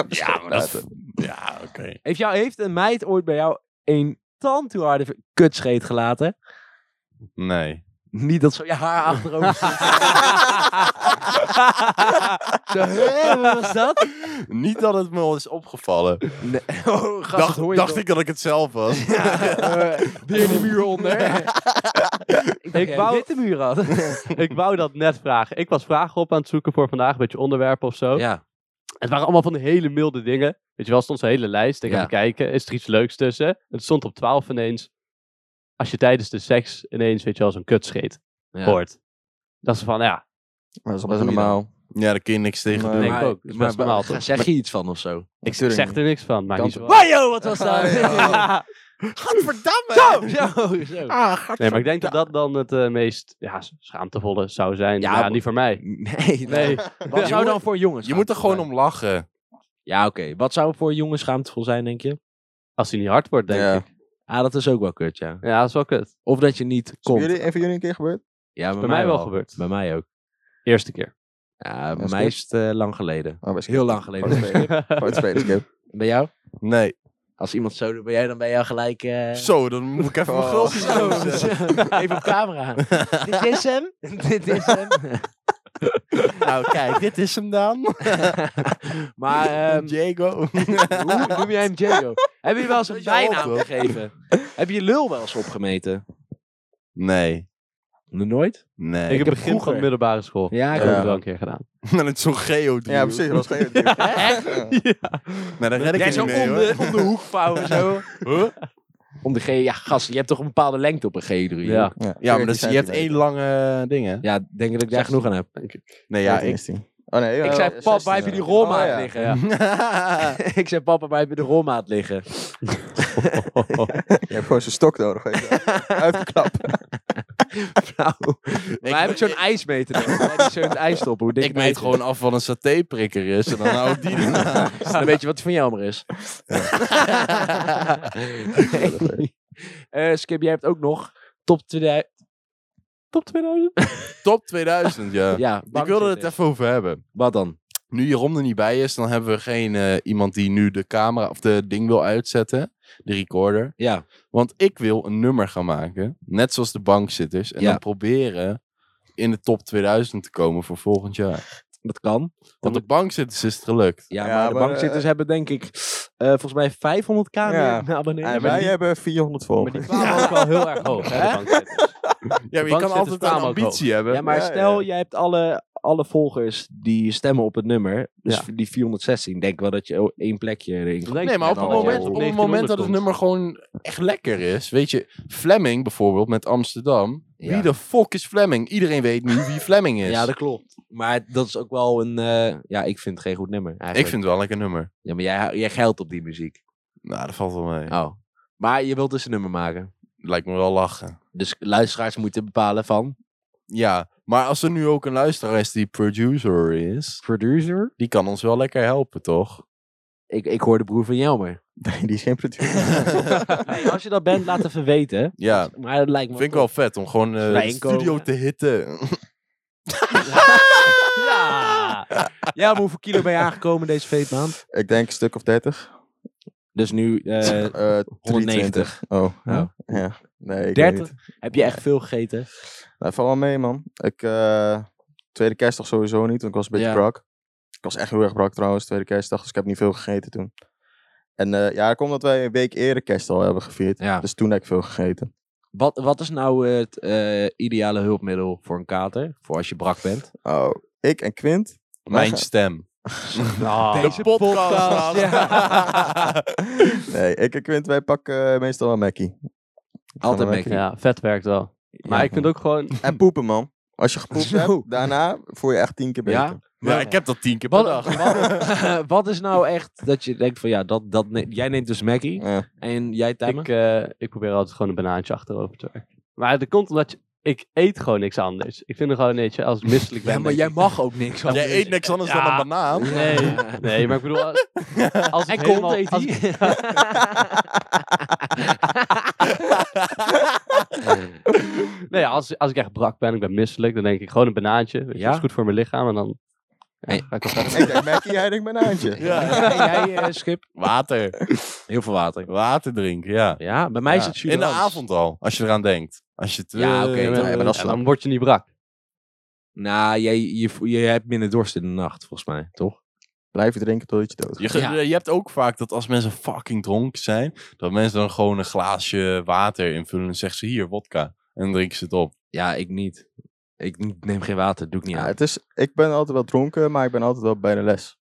S1: ja, maar dat is- Ja, oké.
S2: Heeft, jou, heeft een meid ooit bij jou een tand toe harde v- kutscheet gelaten?
S1: Nee.
S2: Niet dat zo je haar achterover zit. zo, hé, wat was dat?
S1: Niet dat het me al is opgevallen.
S2: Nee. Oh, gast, dat
S1: dacht
S2: hoor je
S1: dacht
S2: toch?
S1: ik dat ik het zelf was.
S2: Ja, eh, weer die muur onder. ik dacht,
S4: Ik
S2: ik
S4: wou-
S2: witte muur had.
S4: Ik wou dat net vragen. Ik was vragen op aan het zoeken voor vandaag, een beetje onderwerpen of zo.
S2: ja.
S4: Het waren allemaal van die hele milde dingen. Weet je wel, stond zo'n hele lijst. Ik
S2: Ja.
S4: ga even kijken, is er iets leuks tussen? En het stond op 12 ineens. Als je tijdens de seks ineens, weet je wel, zo'n kutscheet
S2: ja.
S4: hoort. Dat is van, ja,
S3: Maar dat is
S2: Wat doe je
S3: best
S2: dan?
S3: normaal.
S1: Ja, daar kun je niks tegen
S3: Nee.
S1: doen.
S4: denk
S2: maar,
S4: ik ook. Dat is
S2: maar,
S4: best normaal,
S2: ga-
S4: toch?
S2: zeg je iets van of zo?
S4: ik
S3: Natuurlijk
S4: zeg
S3: niet.
S4: er niks van. Maar
S3: Kan
S4: niet zo.
S3: toch?
S2: Wajo, wat was dat?
S3: Ah, ja.
S1: Godverdamme!
S2: Zo, zo, Ah, zo.
S4: Nee, maar ik denk dat dat dan het eh, meest ja, schaamtevolle zou zijn.
S2: Ja,
S4: Ja,
S2: maar-
S4: niet voor mij.
S2: Nee,
S4: Nee.
S2: Wat
S1: Je
S2: zou
S1: moet-
S2: dan voor jongens
S1: Je moet er gewoon
S2: schaamtevol
S1: om lachen.
S2: zijn? Ja, oké. Wat zou voor jongens schaamtevol zijn, denk je?
S4: Als hij niet hard wordt, denk
S3: Ja.
S4: ik.
S2: Ah, dat is ook wel kut, ja.
S4: Ja, dat is wel kut.
S2: Of dat je niet
S3: Is bij
S2: komt.
S3: jullie, een van jullie een keer gebeurd?
S2: Ja, bij,
S4: Bij mij wel gebeurd.
S2: Bij mij ook.
S4: Eerste keer.
S2: Ja, bij
S3: is
S2: mij
S3: goed.
S2: is het eh, lang geleden.
S3: Oh, best
S2: Heel lang geleden.
S3: Fout spelen. Fout spelen, Skip.
S2: Bij jou?
S1: Nee.
S2: Als iemand zo doet bij jou, dan ben jij gelijk... eh,
S1: Zo, dan moet ik even mijn
S3: Oh.
S1: gultjes
S2: zo.
S1: overzetten.
S2: Even op camera. dit is hem. dit is hem.
S1: Nou, kijk, dit is hem dan.
S2: Maar ehm,
S1: Diego.
S2: hoe noem jij hem Jago? Heb je wel eens een
S1: Beetje hoog,
S2: bijnaam
S1: hoor.
S2: gegeven? Heb je je lul wel eens opgemeten?
S1: Nee.
S2: Nog nooit?
S1: Nee.
S4: ik heb
S2: heb
S4: begin van de
S2: vroeger-
S4: middelbare school.
S2: Ja, ik
S4: ik heb
S3: ook.
S4: het wel een keer gedaan.
S1: Dan is het zo'n geo
S3: Ja, precies. Dat was geen idee. Ja.
S1: Nee, dat red ik
S2: Jij
S1: er
S2: zo
S1: niet mee,
S2: om
S1: hoor.
S2: de, om de hoek vouwen zo. Om de G, ja gast, je hebt toch een bepaalde lengte op een G3?
S4: Ja.
S1: Ja, maar
S2: dus
S3: 14
S1: dat is- je hebt
S3: centimeter.
S1: één lange eh, ding, hè?
S2: Ja, denk ik dat ik daar genoeg aan heb.
S1: Nee, ja,
S3: 14
S1: ik...
S3: is 10. Oh nee.
S2: Ik
S3: eh,
S2: zei,
S3: 16
S2: pap, waar heb je die
S1: Oh,
S2: rolmaat liggen?
S4: Ja.
S2: ik zei, papa, waar heb je de rolmaat liggen?
S3: Je hebt gewoon zo'n stok nodig. weet je wel. Uitgeklapt.
S2: Nou, maar heb ik zo'n ijsmeter nodig? Laat ik zo in het ijs stoppen. Hoe dik
S1: Ik
S2: mijn
S1: meet
S2: ijs
S1: gewoon af wat een satéprikker is. En dan hou ik die ernaast.
S2: is. Dan weet je wat die van jou maar is. Eh, Skip, jij hebt ook nog top 2000.
S4: Top 2000?
S1: Top 2000, ja.
S2: Ja,
S1: ik wilde het even over hebben.
S2: Wat dan?
S1: Nu Jeroen er niet bij is, dan hebben we geen eh, iemand die nu de camera of de ding wil uitzetten. De recorder.
S2: Ja.
S1: Want ik wil een nummer gaan maken. Net zoals de bankzitters. En
S2: Ja.
S1: dan proberen in de top 2000 te komen voor volgend jaar.
S2: Dat kan.
S1: Want de bankzitters is het gelukt.
S2: Ja,
S3: Ja,
S2: maar de
S3: maar,
S2: bankzitters hebben denk ik eh, volgens mij 500k
S3: Ja.
S2: meer abonnees.
S3: En wij hebben 400
S4: Maar die
S3: volgers.
S4: kwamen ook wel heel erg hoog, hè? de bankzitters.
S1: Ja, maar je kan
S4: bankzitters
S1: altijd een
S4: kwamen ook
S1: ambitie hebben.
S2: Ja, maar
S3: Ja,
S2: stel,
S3: ja.
S2: jij hebt alle, alle volgers die stemmen op het nummer. Dus
S4: Ja.
S2: voor die 416. Denk wel dat je o- één plekje erin
S4: Dan
S2: kan.
S4: denk
S1: Nee,
S4: ik
S1: maar op
S4: dat
S1: het
S4: je
S1: moment, op het
S4: 1900
S1: moment dat het
S4: komt.
S1: nummer gewoon echt lekker is. Weet je, Fleming bijvoorbeeld met Amsterdam.
S2: Ja.
S1: Wie de fuck is Fleming? Iedereen weet nu wie Fleming is.
S2: Ja, dat klopt. Maar dat is ook wel een... eh, ja, ik vind het geen goed nummer eigenlijk.
S1: Ik vind het wel een lekker nummer.
S2: Ja, maar jij, jij geldt op die muziek.
S1: Nou, dat valt wel mee.
S2: Oh. Maar je wilt dus een nummer maken.
S1: Lijkt me wel lachen.
S2: Dus luisteraars moeten bepalen van...
S1: Ja, maar als er nu ook een luisteraar is die producer is,
S2: Producer?
S1: die kan ons wel lekker helpen, toch?
S2: Ik, ik hoor de broer van Jelmer.
S3: Nee, die is geen producer.
S2: Hey, als je dat bent, laat even weten.
S1: ja,
S2: Maar het lijkt me
S1: vind ik wel vet om gewoon eh de
S2: Wij inkomen.
S1: studio te hitten.
S2: Ja! Ja, maar hoeveel kilo ben je aangekomen deze veetmaand?
S3: Ik denk een stuk of 30.
S2: Dus nu eh
S3: Eh,
S2: 190.
S3: 320. Oh.
S2: Oh.
S3: Ja. Nee, ik weet
S2: 30?
S3: niet.
S2: Heb je echt veel gegeten?
S3: Nou, valt wel mee, man. Ik, eh, tweede kerstdag sowieso niet, want ik was een beetje
S2: Ja.
S3: brak. Ik was echt heel erg brak trouwens, tweede kerstdag. Dus ik heb niet veel gegeten toen. En eh ja, komt dat wij een week eerder kerst al hebben gevierd.
S2: Ja.
S3: Dus toen heb ik veel gegeten.
S2: Wat, wat is nou het eh, ideale hulpmiddel voor een kater? Voor als je brak bent?
S3: Oh, ik en Quint.
S1: Mijn stem.
S2: Ah. Deze podcast,
S1: Ja.
S3: Nee, ik en Quint, wij pakken eh, meestal wel Mackie.
S2: Altijd
S3: Mackie.
S2: mee.
S4: Ja, vet werkt wel. Maar ik vind ook gewoon...
S3: En poepen, man. Als je gepoept
S2: Zo.
S3: hebt, daarna voel je echt tien keer beter.
S2: Ja?
S1: Ja, ik heb dat tien keer per
S2: Wat,
S1: dag.
S2: wat, wat is nou echt dat je denkt van ja, dat, dat ne- jij neemt dus Mackie
S3: Ja.
S2: en jij Tijmen?
S4: Ik, eh, ik probeer altijd gewoon een banaantje achterover te werken. Maar dat komt omdat je- ik eet gewoon niks anders. Ik vind er gewoon, weet je, als ik misselijk ben...
S2: Ja, maar
S4: denk
S2: jij
S4: ik-
S2: mag ook niks. anders.
S1: Jij eet niks anders dan
S4: Ja.
S1: een banaan.
S4: Nee, nee, maar ik bedoel... Als, als ik
S2: En
S4: helemaal-
S2: komt eet
S4: als-
S2: hij.
S4: Nee, als, als ik echt brak ben, ik ben misselijk, dan denk ik gewoon een banaantje. Weet je,
S2: Ja?
S4: Dat is goed voor mijn lichaam en dan... Ja,
S2: Hey.
S4: ga ik wel verder.
S3: Ik denk Mackie, jij denkt banaantje.
S1: Ja.
S2: En jij eh, Skip?
S1: Water.
S2: Heel veel water.
S1: Water drinken, ja.
S2: Ja, bij mij is
S1: Ja.
S2: het
S1: In de
S2: Surans.
S1: avond al, als je eraan denkt. Als je het,
S2: Ja,
S1: eh,
S2: oké,
S1: eh,
S3: maar dat is
S4: En
S3: slap.
S4: dan word je niet brak.
S2: Nou, jij, je, vo- je hebt minder dorst in de nacht, volgens mij, toch?
S3: Blijf je drinken totdat je dood gaat.
S1: Je, ge-
S2: Ja.
S1: je hebt ook vaak dat als mensen fucking dronken zijn, dat mensen dan gewoon een glaasje water invullen en zeggen ze hier, wodka. En dan drinken ze het op.
S2: Ja, ik niet. Ik n- neem geen water, doe ik niet
S3: Ja,
S2: aan.
S3: het is, ik ben altijd wel dronken, maar ik ben altijd wel bij de les.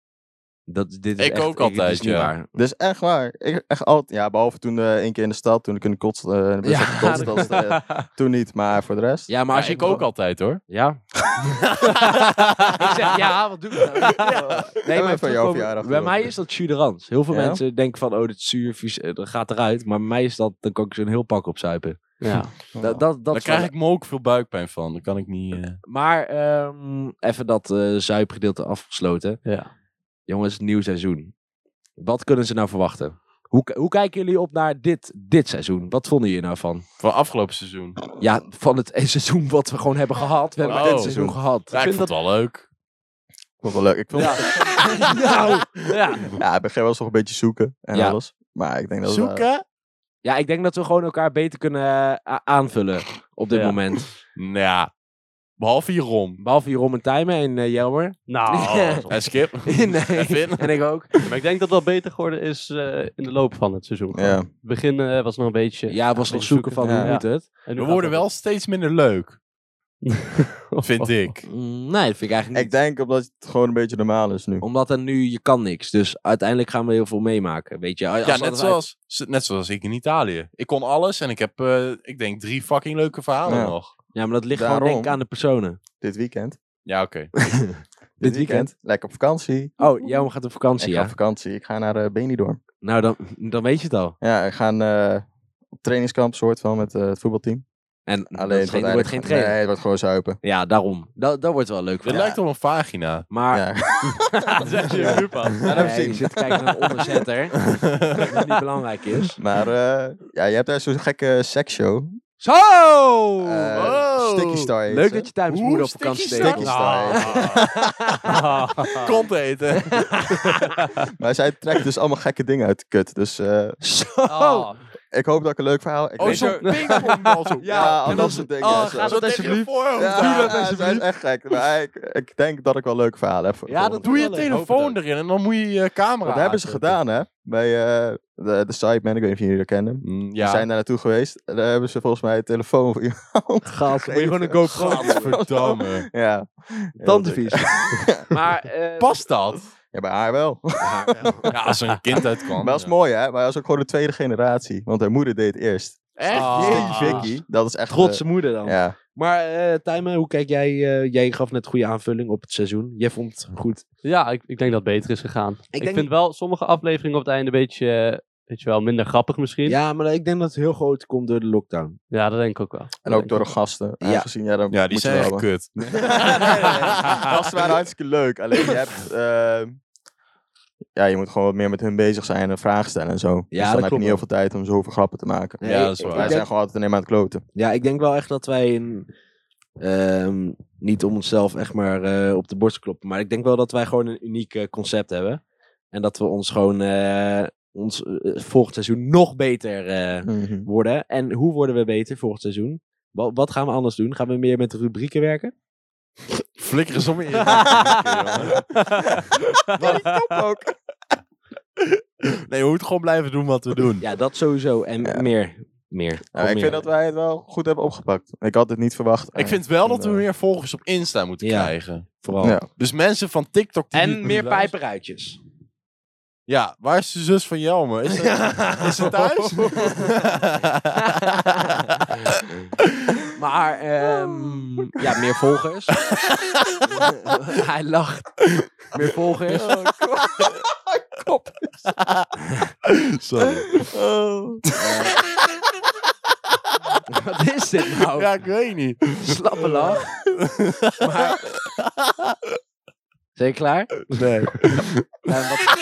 S2: Dat, dit is
S1: Ik
S2: echt-
S1: ook altijd,
S2: dit is niet
S1: ja.
S2: waar.
S3: Dus echt waar. Ik, echt altijd, ja, behalve toen eh één keer in de stad, toen ik in de kots, eh, in de bus
S2: Ja,
S3: heb gekotst,
S2: dat-
S3: dat was, eh, toen niet, maar voor de rest.
S2: Ja, maar
S1: Maar
S2: als je
S1: ik ook altijd hoor.
S2: Ja? ik zeg ja, wat doe ik nou?
S3: Nee,
S2: maar
S3: maar van jouw
S2: terugkomen-
S3: verjaardag.
S2: Bij mij is dat chuderans. Heel veel
S3: Ja?
S2: mensen denken van, oh, dit is zuur, vies, eh, dat gaat eruit. Maar bij mij is dat, dan kan ik zo'n heel pak opzuipen.
S4: Ja.
S3: oh,
S2: Dat, dat, dat
S1: Daar
S2: is
S1: Oh. krijg
S2: wel-
S1: ik me ook veel buikpijn van. Dan kan ik niet. eh,
S2: Maar ehm, even dat eh, zuipgedeelte afgesloten.
S4: Ja.
S2: Jongens, nieuw seizoen. Wat kunnen ze nou verwachten? Hoe, k- hoe kijken jullie op naar dit, dit seizoen? Wat vonden jullie nou van?
S1: van afgelopen seizoen.
S2: Ja, van het eh, seizoen wat we gewoon hebben gehad. We hebben
S1: Oh.
S2: dit seizoen gehad.
S1: Ja, ik vond het wel leuk.
S3: vond het wel leuk. Ik, vond, ja.
S2: Nou.
S4: ja.
S3: ik begin wel eens nog een beetje zoeken en
S2: Ja.
S3: alles. Maar ik denk dat het, eh,
S1: Zoeken?
S2: Ja, ik denk dat we gewoon elkaar beter kunnen eh, a- aanvullen op dit
S4: Ja.
S2: moment.
S1: Nou, ja. behalve hierom.
S2: Behalve Jeroen en Tijmen en eh, Jelmer.
S4: Nou, dat is
S1: En Skip. En
S2: nee.
S1: Finn.
S2: En ik ook.
S4: Maar ik denk dat dat beter geworden is eh, in de loop van het seizoen.
S3: ja.
S2: Oh,
S4: Het begin eh, was nog een beetje...
S2: Ja, was nog
S4: beetje
S2: zoeken van
S3: Ja.
S2: hoe moet het?
S4: En nu
S1: We
S4: gaat
S1: worden
S4: het-
S1: wel steeds minder leuk. vind ik.
S2: Mm, Nee, dat vind ik eigenlijk niet.
S3: Ik denk omdat het gewoon een beetje normaal is nu.
S2: Omdat er nu, je kan niks. Dus uiteindelijk gaan we heel veel meemaken, weet je. Als
S1: Ja,
S2: dat
S1: net
S2: uit-
S1: zoals, z- net zoals ik in Italië. Ik kon alles en ik heb, eh, ik denk, drie fucking leuke verhalen
S3: Ja.
S1: nog.
S2: Ja, maar dat ligt gewoon
S3: Daarom.
S2: denk ik aan de personen.
S3: Dit weekend.
S1: Ja, oké.
S2: Dit weekend?
S3: Lekker op vakantie.
S2: Oh, jij gaat op vakantie,
S3: Ik ga
S2: ja?
S3: op vakantie. Ik ga naar eh, Benidorm.
S2: Nou, dan, dan weet je het al.
S3: Ja, ik ga een eh, op trainingskamp soort van met eh, het voetbalteam.
S2: En
S3: Alleen
S2: Alleen, dat is geen- er wordt
S3: uiteindelijk-
S2: geen trainer.
S3: Nee, het wordt gewoon zuipen.
S2: Ja, daarom. Dat, dat wordt wel leuk.
S1: Het
S2: Ja.
S1: lijkt op een vagina.
S2: Maar
S3: Ja.
S1: Dat zeg je
S3: Ja.
S1: nu pas.
S2: Ja,
S3: dat heb ik
S2: je
S3: gezien.
S2: zit te kijken naar een onderzetter. dat niet belangrijk is.
S3: Maar eh, ja, je hebt daar zo'n gekke seksshow.
S2: Zo!
S3: Eh
S1: wow.
S3: Sticky Star heet
S2: oh, leuk
S3: ze.
S2: dat je tijdens
S1: Oeh,
S2: moeder op
S1: sticky
S2: vakantie
S1: star.
S2: steekt.
S3: Sticky star.
S1: Ah. Kont eten.
S3: Maar zij trekt dus allemaal gekke dingen uit de kut. Dus eh,
S2: Zo!
S4: Oh,
S3: ik hoop dat ik een leuk verhaal... Ik
S1: Oh,
S3: weet-
S1: zo'n pingpongbal zo.
S3: Ja, al dat soort dingen.
S2: oh,
S3: ja,
S2: gaat
S3: zo.
S2: dat
S1: Ah, tegen je
S2: alsjeblieft?
S1: voorhoofd
S3: Ja,
S1: aan.
S3: ja, zij is echt gek. Maar ik, ik denk dat ik wel leuke verhalen heb. voor de
S2: Ja, dat
S3: volgende
S1: Doe je
S2: Wel leuk.
S1: telefoon erin en dan moet je je camera
S3: Dat hebben ze
S1: aanzetten.
S3: gedaan, hè? Bij eh, de, de Sidemen, ik weet niet of jullie dat kennen.
S1: Mm,
S3: We
S1: Ja.
S3: zijn daar naartoe geweest. Daar hebben ze volgens mij een telefoon voor iemand.
S2: Gaat. Moet je gewoon een
S1: Oh,
S3: Even.
S2: GoPro doen.
S1: Gadverdamme.
S3: ja.
S2: Tandenvies. maar, eh,
S1: Past dat?
S3: Ja, bij haar wel.
S1: Ja, als er een kind uit kan.
S3: Maar dat is mooi, hè? Maar dat is ook gewoon de tweede generatie. Want haar moeder deed het eerst.
S1: Echt?
S4: Ah.
S3: Jee, Vicky. Dat is echt...
S2: trotse moeder dan.
S3: eh, ja.
S2: Maar eh Tijmen, hoe kijk jij? eh, jij gaf net goede aanvulling op het seizoen. Jij vond het goed.
S4: Ja, ik, ik denk dat het beter is gegaan. Ik,
S2: denk-
S4: vind wel sommige afleveringen op het einde een beetje, eh, weet je wel, minder grappig misschien. Ja,
S2: Ja, maar ik denk dat het heel groot komt door de lockdown.
S4: dat denk ik ook wel.
S3: En ook door de gasten.
S2: Ja.
S3: Aangezien, ja, dan
S1: Ja, die
S3: moet je
S1: zijn echt
S3: wel-
S1: kut.
S3: gasten waren hartstikke leuk. Alleen je hebt... eh, ja, je moet gewoon wat meer met hun bezig zijn en vragen stellen en zo.
S2: dat
S3: dus dan heb je
S2: klopt
S3: niet heel veel tijd om zoveel grappen te maken.
S2: Nee,
S1: Ja, dat is
S2: ik-
S1: waar.
S2: ik
S3: Wij
S2: denk-
S3: zijn gewoon altijd alleen maar aan het kloten.
S2: Ja, ik denk wel echt dat wij een, ehm, niet om onszelf echt maar eh, op de borst kloppen, maar ik denk wel dat wij gewoon een uniek eh, concept hebben en dat we ons gewoon eh, ons eh, volgend seizoen nog beter eh,
S3: Mhm.
S2: worden. En hoe worden we beter volgend seizoen? Wa- Wat gaan we anders doen? Gaan we meer met rubrieken werken?
S1: Flikker eens om in je
S3: ook.
S1: Nee, we moeten gewoon blijven doen wat we doen.
S2: Ja, dat sowieso. En
S3: Ja.
S2: meer. Meer. Gewoon
S3: ik
S2: meer.
S3: vind dat wij het wel goed hebben opgepakt. Ik had het niet verwacht. eh,
S1: Ik vind wel dat we meer volgers op Insta moeten
S2: Ja.
S1: krijgen.
S2: Vooral.
S3: Ja.
S1: Dus mensen van TikTok... die dit
S2: En
S1: nu
S2: meer
S1: luisteren-
S2: pijperuitjes.
S1: Ja, waar is de zus van Jelme? Is ze, is ze thuis?
S2: Eh, Maar ehm, ja, meer volgers. Hij lacht. Meer volgers.
S1: Sorry.
S2: Wat is dit nou?
S1: Ja, ik weet niet.
S2: Slappe lach. Maar... Zijn je klaar?
S1: Nee.
S2: Ja, wat-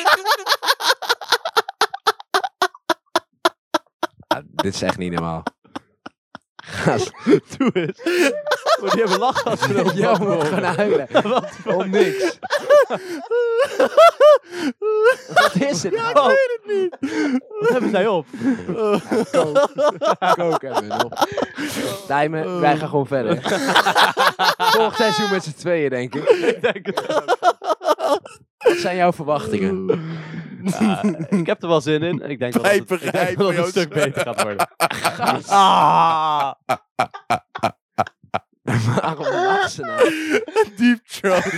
S2: Ah, dit is echt niet normaal. Gast,
S4: Doe het. Oh, die hebben lachgassen erop.
S2: Jij moet gaan huilen.
S4: Wat
S2: Om niks. Wat is het nou?
S4: weet het niet. Wat hebben zij op?
S2: Kook hebben we nog. Tijmen, wij gaan gewoon verder. Volgend seizoen met z'n tweeën, denk ik.
S4: Ik denk het ook.
S2: Wat zijn jouw verwachtingen?
S4: Ja, ik heb er wel zin in. Ik denk wel dat het, ik denk
S1: Pijperij,
S4: wel dat het
S1: Joost.
S4: een stuk beter gaat worden.
S1: Ah,
S2: Waarom lachen ze nou?
S1: deep throat.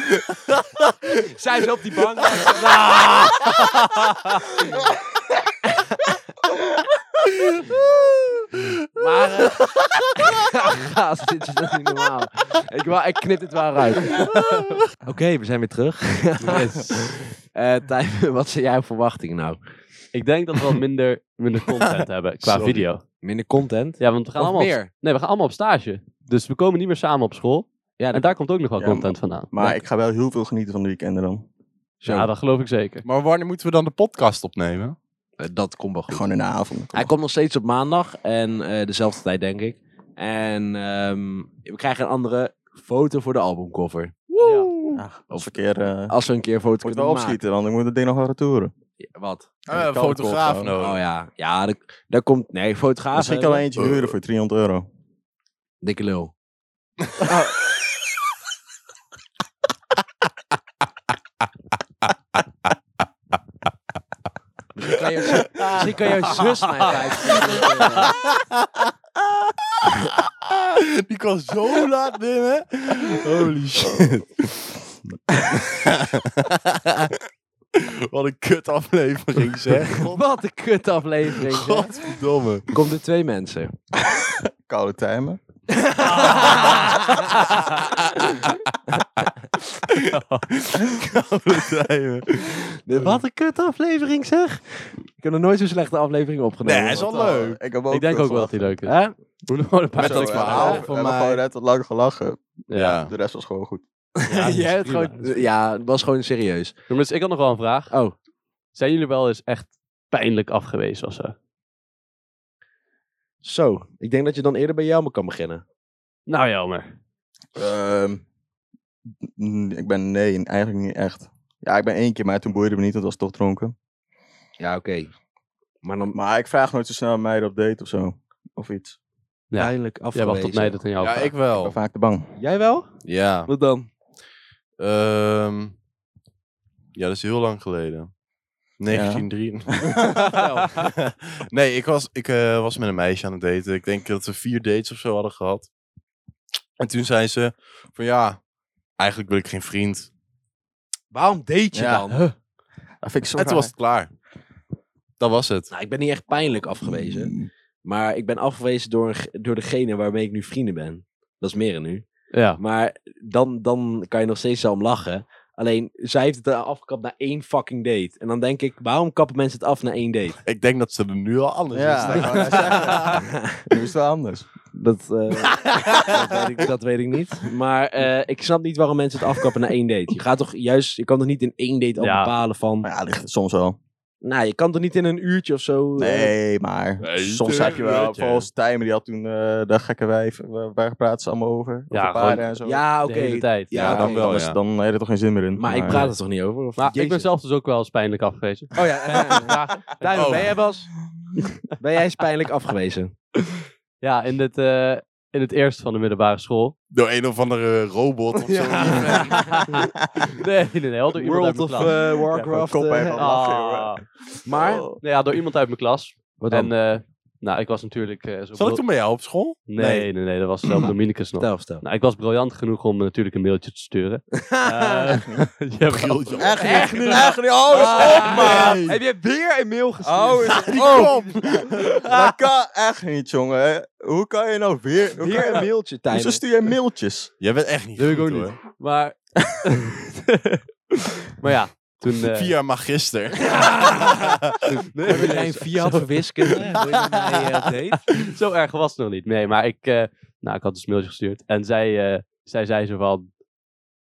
S2: Zijn ze op die bank? Maar... eh, gast, dit is toch niet normaal. Ik, wou- ik knip dit wel uit. Oké, we zijn weer terug. Eh Tijmen, wat zijn jouw verwachtingen nou?
S4: Ik denk dat we wat minder, minder content hebben qua
S1: Sorry.
S4: video.
S2: Minder content?
S4: Ja, want we gaan
S2: Of
S4: allemaal op-
S2: meer?
S4: nee, we gaan allemaal op stage. Dus we komen niet meer samen op school.
S2: Ja,
S4: En daar komt ook nog wel
S3: Ja,
S4: content vandaan.
S3: Maar ik ga wel heel veel genieten van de weekenden dan.
S2: zo.
S4: Ja, dat geloof ik zeker.
S1: Maar wanneer moeten we dan de podcast opnemen?
S2: Eh, dat komt wel goed.
S3: Gewoon in de avond.
S2: Hij komt nog steeds op maandag en eh, dezelfde tijd, denk ik. En ehm, we krijgen een andere foto voor de albumcover.
S3: Ja, als verkeer... eh
S2: Als we een keer een foto
S3: moet ik
S2: kunnen
S3: wel
S2: maken.
S3: opschieten, want ik moet het ding nog wel retouren.
S2: Ja, Wat?
S1: We hebben een
S3: Koude kop,
S1: fotograaf
S3: man.
S1: nodig.
S2: Oh ja, ja daar, daar komt... Nee, fotograaf.
S3: Misschien kan
S2: hebben
S3: ik
S2: we.
S3: eentje huren voor 300 euro.
S2: Dikke lul. Misschien kan je-
S1: Oh,
S2: Misschien kan jouw zus mij vijf.
S1: Ah, Die kwam zo laat binnen. Holy shit. Wat een kut aflevering zeg. God-
S2: Wat een kut aflevering. zeg.
S1: Godverdomme.
S2: Komt er twee mensen.
S3: Koude timen.
S1: Koude tijden.
S2: Wat een kut aflevering zeg. Ik heb nog nooit zo'n slechte aflevering opgenomen.
S1: Nee, hij is wel
S3: Want, eh,
S1: leuk.
S3: Ik, heb ook
S4: Ik denk ook wel dat hij leuk is.
S2: Hè?
S4: Doe er gewoon een paar
S1: Met dat
S4: leuke
S1: verhaal
S4: verhalen.
S1: voor
S3: We hebben
S1: mij.
S3: gewoon net wat lang gelachen.
S1: Ja.
S3: De rest was gewoon goed.
S2: Jij hebt
S4: prima. Dus,
S2: gewoon, ja, het was gewoon serieus.
S4: Jongens, ik had nog wel een vraag.
S2: Oh,
S4: Zijn jullie wel eens echt pijnlijk afgewezen of zo?
S2: zo. Ik denk dat je dan eerder bij jou kan beginnen.
S4: Nou jammer.
S3: Ehm, n- ik ben nee, eigenlijk niet echt. Ja, ik ben één keer, maar toen boeide het me niet, want ik was toch dronken.
S2: Ja, oké. Maar dan
S3: Maar ik vraag nooit zo snel aan mij op date of zo. Of iets.
S4: Ja.
S2: pijnlijk
S4: Jij
S2: afgewezen.
S4: wacht op mij dat aan jou
S1: Ja,
S4: vraagt.
S1: ik
S3: Ik ben
S1: wel.
S3: vaak te bang.
S2: Jij wel?
S1: Ja.
S2: Wat dan?
S1: Ehm, ja, dat is heel lang geleden. 1903. nee, ik, was, ik eh, was met een meisje aan het daten. Ik denk dat we vier dates of zo hadden gehad. En toen zei ze van ja, eigenlijk wil ik geen vriend.
S2: Waarom date je
S3: Ja.
S2: dan?
S3: Dat vind ik zo
S1: en toen was het klaar. Dat was het.
S2: Nou, ik ben niet echt pijnlijk afgewezen.
S3: Mm.
S2: Maar ik ben afgewezen door, een ge- door degene waarmee ik nu vrienden ben. Dat is meer nu.
S4: Ja.
S2: Maar dan, dan kan je nog steeds zo om lachen. Alleen, zij heeft het eh, afgekapt na één fucking date. En dan denk ik, waarom kappen mensen het af na één date?
S1: Ik denk dat ze er nu al
S4: Dus
S1: anders
S3: Ja,
S1: is.
S3: dat wou ik zeggen. Nu is het wel anders.
S2: Dat, eh, dat, weet ik, dat weet ik niet. Maar eh, ik snap niet waarom mensen het afkappen na één date. Je gaat toch juist, je kan toch niet in één date al
S4: Ja.
S2: bepalen van.
S3: Maar ja, ligt het soms wel.
S2: Nou, je kan toch niet in een uurtje of zo. eh,
S3: Nee, maar
S1: Nee,
S3: soms
S1: tuurlijk
S3: heb je wel.
S1: niet, ja.
S3: Vooral Stijmer, die had toen eh dat gekke wijf. Waar, waar praten ze allemaal over? over
S4: Ja, gewoon-
S3: paarden en zo.
S2: ja, oké.
S4: De hele tijd.
S2: Ja,
S1: Ja, dan
S2: oké.
S1: wel,
S3: dan, is-
S1: ja.
S3: dan heb je er toch geen zin meer in.
S2: Maar ik praat er toch niet over? Of
S4: Maar ik ben
S2: Jezus.
S4: zelf dus ook wel eens pijnlijk afgewezen.
S2: Oh ja, eh, eh, eh. Duimen,
S1: Oh.
S2: ben jij Bas? ben jij eens pijnlijk afgewezen?
S4: Ja, in het, eh, in het eerst van de middelbare school.
S1: Door een of andere robot of zo.
S4: nee, nee, nee. al Door iemand uit mijn klas.
S2: eh,
S3: Ja, gewoon kop
S2: eh,
S3: even
S2: ah.
S3: lachen, jongen.
S4: Ah,
S2: maar,
S4: nou ja, door iemand uit mijn klas.
S2: wat dan?
S4: En eh, nou, ik was natuurlijk... eh, zo
S1: Zat ik
S4: bril-
S1: toen bij jou op school?
S4: nee, nee, nee, Dat was zelf Dominicus nog.
S2: vertel, vertel.
S4: Nou, ik was briljant genoeg om eh, natuurlijk een mailtje te sturen.
S2: Ah,
S4: Eh, jawel.
S1: Briljant.
S3: Echt niet.
S2: Echt
S3: Echt
S2: niet. Ah.
S3: niet. Oh, is op, man.
S1: Nee.
S2: Heb je weer een mail gestuurd?
S3: Oh, is
S1: Die
S3: oh.
S1: kop.
S3: Dat kan echt niet, jongen. Hoe kan je nou weer... Hoe kan
S2: weer
S3: je
S2: een
S3: nou-
S2: mailtje,
S3: Hoezo
S2: Tijmen.
S3: stuur jij mailtjes?
S1: Jij bent echt niet
S4: Doe ik
S1: goed,
S4: ook niet.
S1: hoor.
S4: Maar... maar ja, toen... eh,
S1: Via magister.
S4: nee,
S2: Heb je
S4: nee,
S2: geen
S4: zo-
S2: vier had voor wiskunde? Wil je met mij, eh, date?
S4: Zo erg was het nog niet. Nee, maar ik, eh, nou, ik had dus een mailtje gestuurd. En zij, eh, zij zei zo van...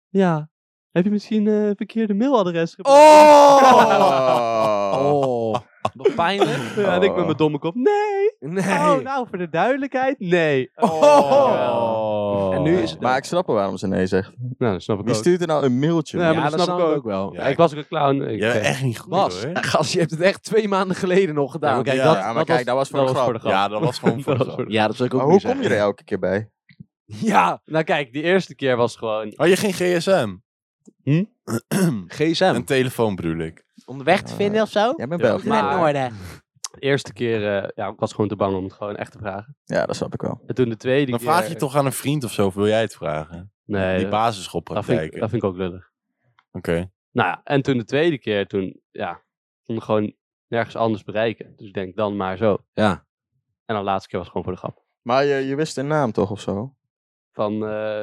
S4: Ja, heb je misschien eh, een verkeerde mailadres gebruikt?
S1: Oh!
S3: Oh!
S2: Oh, wat pijnlijk.
S4: Ja, En ik met mijn domme kop. Nee!
S2: Nee.
S4: Oh, nou, voor de duidelijkheid. Nee.
S1: Oh.
S2: En nu is het-
S3: Maar ik snap wel waarom ze nee zegt.
S4: Nou, dat snap ik
S3: Wie
S4: ook.
S3: stuurt er nou een mailtje?
S4: Ja,
S2: Ja,
S3: man?
S4: maar
S2: dat snap ik ook wel.
S1: Ja,
S4: Ja, ik was ook een clown. Ik,
S1: Jij bent
S4: eh,
S1: echt niet goed
S2: Bas,
S1: hoor.
S2: gast, je hebt het echt twee maanden geleden nog
S4: ja, maar
S2: gedaan.
S4: kijk,
S1: Ja,
S4: nou, dat,
S3: ja, maar
S4: dat
S3: kijk,
S4: was,
S3: dat was voor de grap.
S4: voor de grap.
S1: Ja, dat was gewoon voor de
S4: Dat
S1: grap.
S4: was
S2: Ja, dat zou ik ook
S3: Maar hoe
S2: niet
S3: kom je er
S2: zeggen.
S3: elke keer bij?
S2: Ja,
S4: Nou kijk, die eerste keer was gewoon...
S1: Had Oh, je geen gsm?
S4: Hm?
S2: gsm.
S1: Een telefoon bedoel ik.
S2: Om de weg
S3: te vinden
S2: of zo?
S3: Jij bent
S4: Ja,
S3: Belg.
S4: maar-
S3: Ja,
S4: De eerste keer, eh, ja, ik was gewoon te bang om het gewoon echt te vragen.
S3: Ja, dat snap ik wel.
S4: En toen de tweede
S1: Dan
S4: keer...
S1: vraag je toch aan een vriend of zo, of wil jij het vragen?
S4: eh,
S1: Die
S4: Nee, dat, dat vind,
S1: basisschoolpraktijken.
S4: ik, dat vind ik ook lullig.
S1: Oké.
S4: Nou ja, en toen de tweede keer, toen, ja, kon ik gewoon nergens anders bereiken. Dus ik denk, dan maar zo.
S2: Ja.
S4: En dan de laatste keer was het gewoon voor de grap.
S3: Maar je, je wist de naam toch of zo?
S4: Van, eh,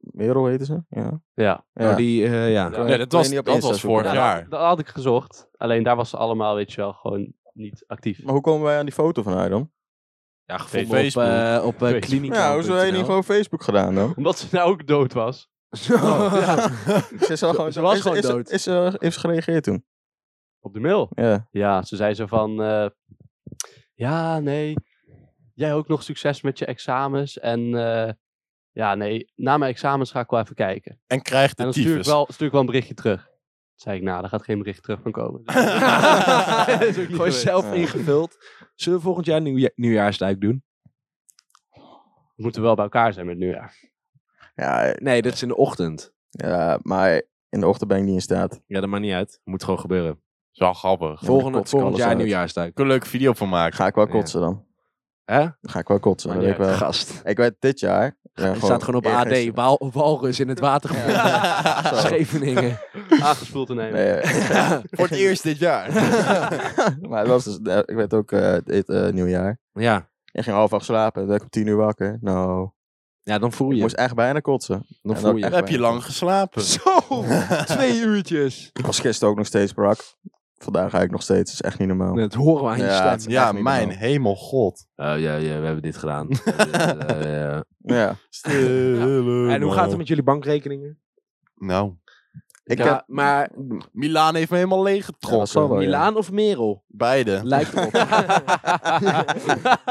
S3: Merel heette ze? Ja.
S4: ja.
S2: Oh, die, eh, ja.
S1: Nee, dat was,
S3: niet op
S1: dat
S3: Insta
S1: was
S3: zoeken.
S1: vorig
S4: Nou,
S1: jaar.
S4: Dat, dat had ik gezocht. Alleen daar was ze allemaal, weet je wel, gewoon niet actief.
S3: Maar hoe komen wij aan die foto van haar dan?
S2: Ja,
S1: gevonden op,
S2: op, eh op eh
S4: Facebook.
S2: kliniek.
S3: Ja, hoezo heb je niet gewoon Facebook gedaan dan?
S4: Omdat ze nou ook dood was.
S2: Oh,
S3: Ze, is wel gewoon,
S2: ze was
S3: is-
S2: gewoon
S3: is-
S2: dood.
S3: Is, ze heeft ze gereageerd toen?
S4: Op de mail.
S3: Ja.
S4: Ja, ze zei zo van... eh, ja, nee. Jij ook nog succes met je examens. En eh, ja, nee. Na mijn examens ga ik wel even kijken.
S1: En krijgt
S4: En
S1: de
S4: dan stuur ik,
S1: tyfus.
S4: wel, stuur ik wel een berichtje terug. Toen zei ik, nou, daar gaat geen bericht terug van komen. Dus- Dat is ook niet
S2: Gewoon
S4: gebeurd.
S2: zelf
S3: Ja.
S2: ingevuld. Zullen we volgend jaar nieuwja nieuwjaarsduik doen?
S4: We moeten wel bij elkaar zijn met het nieuwjaar.
S3: Ja,
S2: Nee, dat is in de ochtend.
S3: ja, maar in de ochtend ben ik niet in staat.
S2: Ja, dat maakt niet uit. Moet gewoon gebeuren.
S1: Is wel grappig.
S3: Ja,
S2: Volgende,
S3: dan kotst ik
S2: volgend
S3: alles
S2: jaar
S3: uit.
S2: nieuwjaarsduik.
S1: Ik wil een leuke video van maken.
S3: Ga ik wel
S2: Ja.
S3: kotsen dan.
S2: Hè? Oh,
S3: Dan ga ik wel kotsen.
S4: Maar
S3: dat weet ik,
S4: niet
S3: wel.
S2: Gast.
S3: ik weet dit jaar. eh,
S2: Je staat gewoon op AD. Wal- walrus in het water.
S3: Ja. Zo.
S2: Scheveningen.
S4: Aangespoeld te nemen.
S3: Nee, eh,
S1: Voor het eerst dit jaar.
S3: maar het was dus, eh, ik weet ook, eh dit eh, nieuwjaar.
S2: Ja.
S3: Ik ging half acht slapen, dan werd ik om tien uur wakker. Nou,
S2: Oh, ja, dan voel
S3: ik
S2: je.
S3: moest echt bijna kotsen.
S2: Dan
S3: en
S2: voel
S3: dat
S2: je.
S3: echt-
S1: heb je lang geslapen.
S2: Zo! Twee uurtjes.
S3: Ik was gisteren ook nog steeds brak. Vandaag ga ik nog steeds, dat is echt niet normaal.
S2: Dat horen we aan je
S3: Ja,
S2: stem.
S3: het is echt
S1: Ja,
S3: niet
S1: mijn
S3: normaal.
S1: hemel god.
S2: Oh, ja, ja, we hebben dit gedaan. Eh, ja.
S3: Ja,
S2: En hoe gaat het met jullie bankrekeningen?
S1: Nou,
S3: ik
S4: Ja,
S3: heb...
S2: Maar
S1: Milaan heeft me helemaal
S3: Ja, dat zal
S1: leeggetrokken.
S3: wel, ja.
S2: Milaan of Merel?
S1: Beide.
S2: Lijkt erop.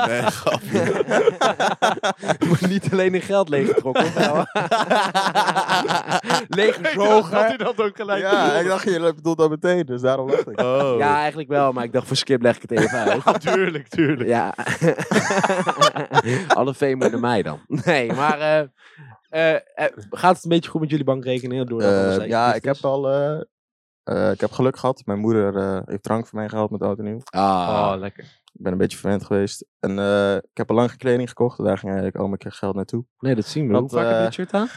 S1: Nee, grapje.
S2: maar niet alleen in geld leeggetrokken. Leeggezogen.
S4: dat ook gelijk
S3: Ja, ik dacht, je bedoelt dat meteen, dus daarom dacht ik.
S1: Oh.
S2: Ja, eigenlijk wel, maar ik dacht voor Skip leg ik het even uit.
S4: tuurlijk, tuurlijk.
S2: Ja. Alle fame moet naar mij dan. Nee, maar eh, eh, eh, gaat het een beetje goed met jullie bankrekening? Door dat
S3: Eh,
S2: alles
S3: ja,
S2: even
S3: ik
S2: is?
S3: heb al... eh, eh, ik heb geluk gehad. Mijn moeder eh, heeft drank voor mij gehaald met oud en nieuw.
S2: Ah,
S4: Oh, lekker.
S3: Ik ben een beetje verwend geweest. En eh, ik heb al lang geen kleding gekocht. en Daar ging eigenlijk al mijn keer geld naartoe.
S2: nee, dat zien we.
S3: Want,
S2: Hoe vaak heb je
S3: eh,
S2: dit shirt aan?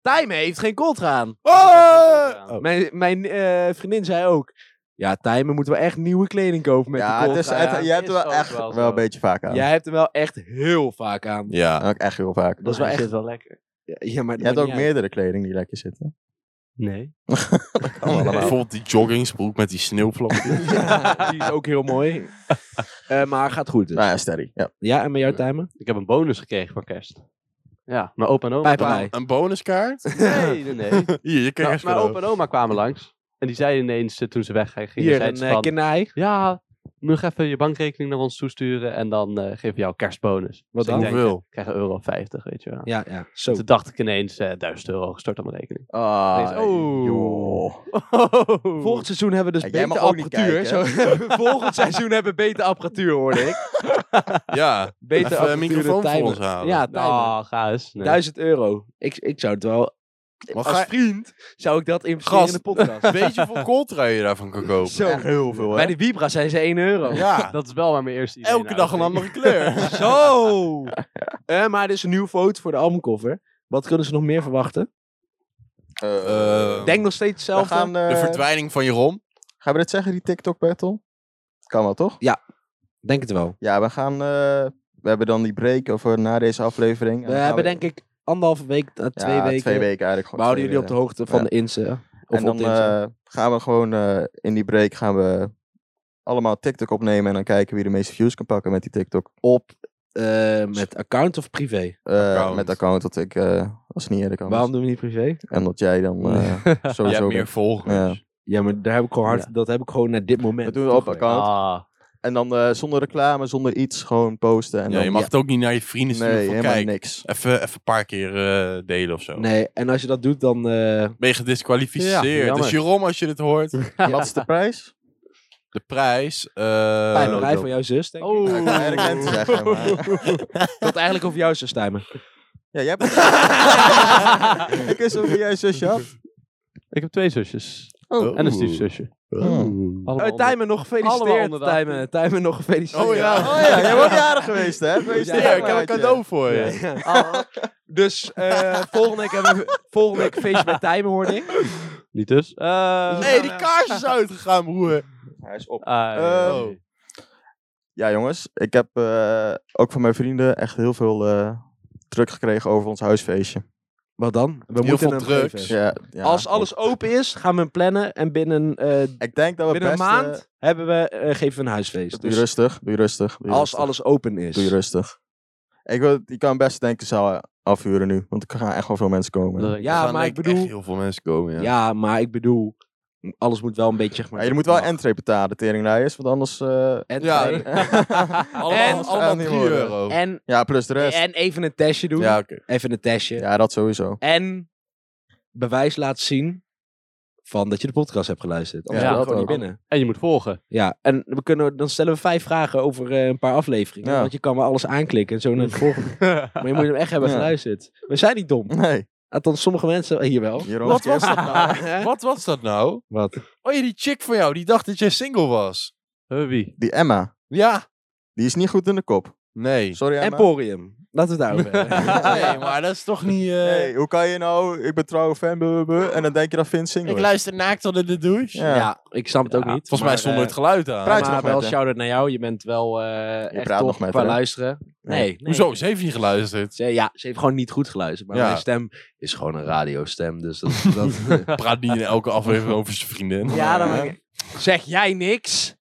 S2: Time heeft geen coltra aan.
S1: Oh!
S2: Mijn, mijn eh, vriendin zei ook. Ja, Tijmen moeten we echt nieuwe kleding kopen met
S3: ja,
S2: die
S3: het is,
S2: coltra.
S3: het-
S4: ja,
S3: je hebt er
S4: is
S3: wel
S4: ook
S3: echt
S4: wel
S3: wel,
S4: zo.
S3: een beetje vaak aan.
S2: Jij hebt hem wel echt heel vaak aan.
S1: Ja.
S3: Ook echt heel vaak.
S2: Dat is wel
S4: Hij
S2: echt-
S4: zit wel lekker.
S2: Ja, maar
S3: Je
S2: dat
S3: hebt
S2: maakt
S3: ook
S2: niet uit.
S3: meerdere kleding die lekker zitten.
S4: Nee.
S3: Kan allemaal.
S1: Bijvoorbeeld die joggingsbroek met die sneeuwvlokjes.
S2: Ja, die is ook heel mooi. Eh, maar gaat goed dus.
S3: Nou ja, steady. Ja.
S2: Ja, en met jou Tijmen?
S4: Ik heb een bonus gekregen voor kerst. Ja, mijn opa en oma.
S2: Bye bye.
S1: Een bonuskaart?
S4: Nee, nee, nee.
S1: Hier, je krijgt
S4: Nou, mijn opa en oma kwamen langs. En die zeiden ineens, eh, toen ze weggingen,
S2: Hier,
S4: zeiden
S2: een
S4: ze
S2: eh
S4: van...
S2: kinaai.
S4: ja, moet nog even je bankrekening naar ons toesturen en dan eh, geven we jou een kerstbonus.
S2: Wat
S4: Dus
S2: dan?
S4: ik denk,
S1: Hoeveel?
S4: Ik krijg een euro 50, weet je wel. Dus
S2: Ja, ja, zo.
S4: Toen dacht ik ineens eh 1000 euro gestort op mijn rekening.
S3: Ah,
S4: Deze- oh.
S3: joh.
S2: Volgend seizoen hebben we dus
S3: Ja, jij
S2: beter
S3: mag ook niet
S2: apparatuur. Zo, volgend seizoen hebben we beter apparatuur, hoorde ik.
S1: Ja,
S2: Beter
S1: even een microfoon voor
S2: Tijmen.
S1: ons halen.
S2: Ja,
S3: Nou,
S2: Tijmen.
S4: Ah, ga eens. Nee.
S2: 1000 euro. Ik, ik zou het wel...
S1: Maar
S2: als
S1: ga-
S2: vriend zou ik dat investeren
S1: Gast.
S2: in de podcast.
S1: Weet je hoeveel coltra je daarvan kan kopen?
S2: Zo.
S3: Echt heel veel,
S2: Bij
S3: hè?
S2: de Vibra zijn ze 1 euro.
S1: Ja,
S4: Dat is wel waar mijn eerste idee
S1: elke
S4: naar
S1: dag een
S4: ging.
S1: andere kleur.
S2: Zo! Eh, maar er is een nieuwe foto voor de albumcover. Wat kunnen ze nog meer verwachten?
S1: Eh,
S2: Denk nog steeds
S3: we
S2: hetzelfde.
S3: gaan, eh,
S1: De verdwijning van Jeroen.
S3: gaan we dit zeggen, die TikTok-battle? Kan wel, toch?
S2: Denk het wel.
S3: Ja, we gaan... eh, we hebben dan die break over na deze aflevering. En
S2: We
S3: dan gaan
S2: hebben denk ik anderhalve week, eh,
S3: Ja,
S2: twee weken.
S3: twee weken eigenlijk.
S2: We
S3: Gewoon
S2: houden
S3: twee
S2: jullie op de
S3: weken.
S2: hoogte van
S3: Ja.
S2: de Insta. Of
S3: En
S2: op
S3: dan
S2: de Insta.
S3: eh, gaan we gewoon eh, in die break gaan we allemaal TikTok opnemen. En dan kijken wie de meeste views kan pakken met die TikTok.
S2: op eh, met account of privé?
S3: Eh,
S1: Account.
S3: Met account dat ik eh als het niet eerder kan.
S2: Waarom doen we niet privé?
S3: En dat jij dan eh,
S1: Je hebt
S3: sowieso...
S1: meer
S3: bent.
S1: volgers.
S2: Ja, maar daar heb ik gewoon hard, dat heb ik gewoon naar dit moment.
S3: We doen het op
S2: toegelegd.
S3: account.
S4: Ah,
S3: En dan eh, zonder reclame, zonder iets, gewoon posten. En
S1: Ja,
S3: dan,
S1: je mag het ook niet naar je vrienden
S3: nee,
S1: sturen van
S3: helemaal
S1: kijk,
S3: niks.
S1: even, even een paar keer eh, delen of zo.
S2: Nee, en als je dat doet, dan eh,
S1: Ben je gedisqualificeerd.
S4: Ja, jammer.
S1: dus Jeroen, als je dit hoort,
S3: Wat is de prijs?
S1: de prijs. eh,
S2: pijn van jouw zus, denk ik.
S4: Oh.
S3: Ja, ik kan eigenlijk mensen zeggen, maar...
S2: Dat eigenlijk over jouw zus stemmen.
S3: Ja, jij hebt... ik wist ook wie jij zusje af.
S4: Ik heb twee zusjes.
S1: Oh.
S4: En een stiefzusje. Allemaal
S2: Eh Tijmen, nog
S4: Allemaal
S2: gefeliciteerd.
S4: onder de
S2: Tijmen, Tijmen, nog gefeliciteerd.
S1: Oh ja.
S3: Oh ja, jij bent jarig geweest, hè?
S1: Ja, ik heb een cadeau voor je.
S2: Ja. Dus eh, volgende week hebben we volgende week een feestje bij Tijmen, hoorde ik.
S4: Niet dus. Eh,
S1: Nee, die kaars is uitgegaan, broer.
S3: Hij is op.
S4: ah,
S3: Eh,
S4: nee.
S3: Ja, jongens, ik heb eh, ook van mijn vrienden echt heel veel eh, druk gekregen over ons huisfeestje.
S2: Wat dan? We
S1: Heel veel
S2: hem
S1: drugs.
S2: geven.
S3: Ja, ja,
S2: Als alles open is, gaan we hem plannen. En binnen, eh,
S3: Ik denk dat we
S2: binnen
S3: best,
S2: een maand
S3: eh,
S2: hebben we, eh, geven we een huisfeest.
S3: doe
S2: Dus
S3: je rustig, doe je rustig. doe je
S2: als
S3: rustig,
S2: alles open is.
S3: Doe je rustig. Ik wil, je kan best denken, zou eh, afhuren nu. Want er gaan echt wel veel mensen komen.
S4: Dat-
S1: Er
S2: ja,
S1: gaan
S2: maar ik
S1: denk
S2: bedoel...
S1: echt heel veel mensen komen, ja.
S2: ja. maar ik bedoel... Alles moet wel een beetje, zeg maar...
S3: maar je moet wel
S2: mag.
S3: entree betalen, teringlijers. Want anders... eh,
S2: en,
S1: Ja.
S2: en,
S1: Allemaal,
S2: En-
S1: allemaal
S3: en-
S1: 3 euro.
S2: en,
S3: ja, plus de rest.
S2: en even een testje doen.
S1: Ja, oké.
S2: Even een testje.
S3: Ja, dat sowieso.
S2: En bewijs laat zien van dat je de podcast hebt geluisterd. Anders
S4: Ja,
S2: ja,
S3: dat
S2: gewoon niet
S3: ook.
S2: binnen.
S4: En je moet volgen.
S2: Ja, en we kunnen, dan stellen we vijf vragen over eh, een paar afleveringen.
S3: Ja.
S2: Want je kan wel alles aanklikken en zo naar het volgende. maar je moet hem echt hebben
S3: Ja.
S2: geluisterd. We zijn niet dom.
S3: Nee.
S2: Althans, sommige mensen eh, hier wel.
S3: Jeroen,
S1: Wat was dat nou?
S2: Hè?
S1: Wat was dat nou?
S2: Wat?
S1: Oh ja, die chick van jou, die dacht dat jij single was.
S4: Hubby.
S3: Die Emma,
S1: Ja.
S3: die is niet goed in de kop.
S1: Nee.
S3: Sorry, Emma.
S2: Emporium. Laten we het daarover hebben.
S1: nee, maar dat is toch niet... eh,
S3: Hey, hoe kan je nou, ik ben trouwe fan, buh, buh, buh, en dan denk je dat Vince single
S1: Ik
S3: is.
S1: luister naakt onder de douche.
S3: Ja.
S2: Ja, ik snap het ook
S4: Ja,
S2: niet.
S1: Volgens mij
S2: maar,
S1: stond
S2: eh,
S1: het geluid aan.
S3: praat je
S2: maar
S3: nog met
S2: wel
S3: haar?
S2: shout-out naar jou. Je bent wel eh echt
S3: praat
S2: top
S3: nog met
S2: qua
S3: haar, hè?
S2: luisteren. Nee, nee.
S1: Hoezo? Ze heeft niet geluisterd.
S2: Ze, ja, ze heeft gewoon niet goed geluisterd. Maar
S1: Ja.
S2: mijn stem is gewoon een radiostem. Dus dat... dat
S1: Praat niet in elke aflevering over zijn vriendin.
S2: ja, dan Zeg jij niks?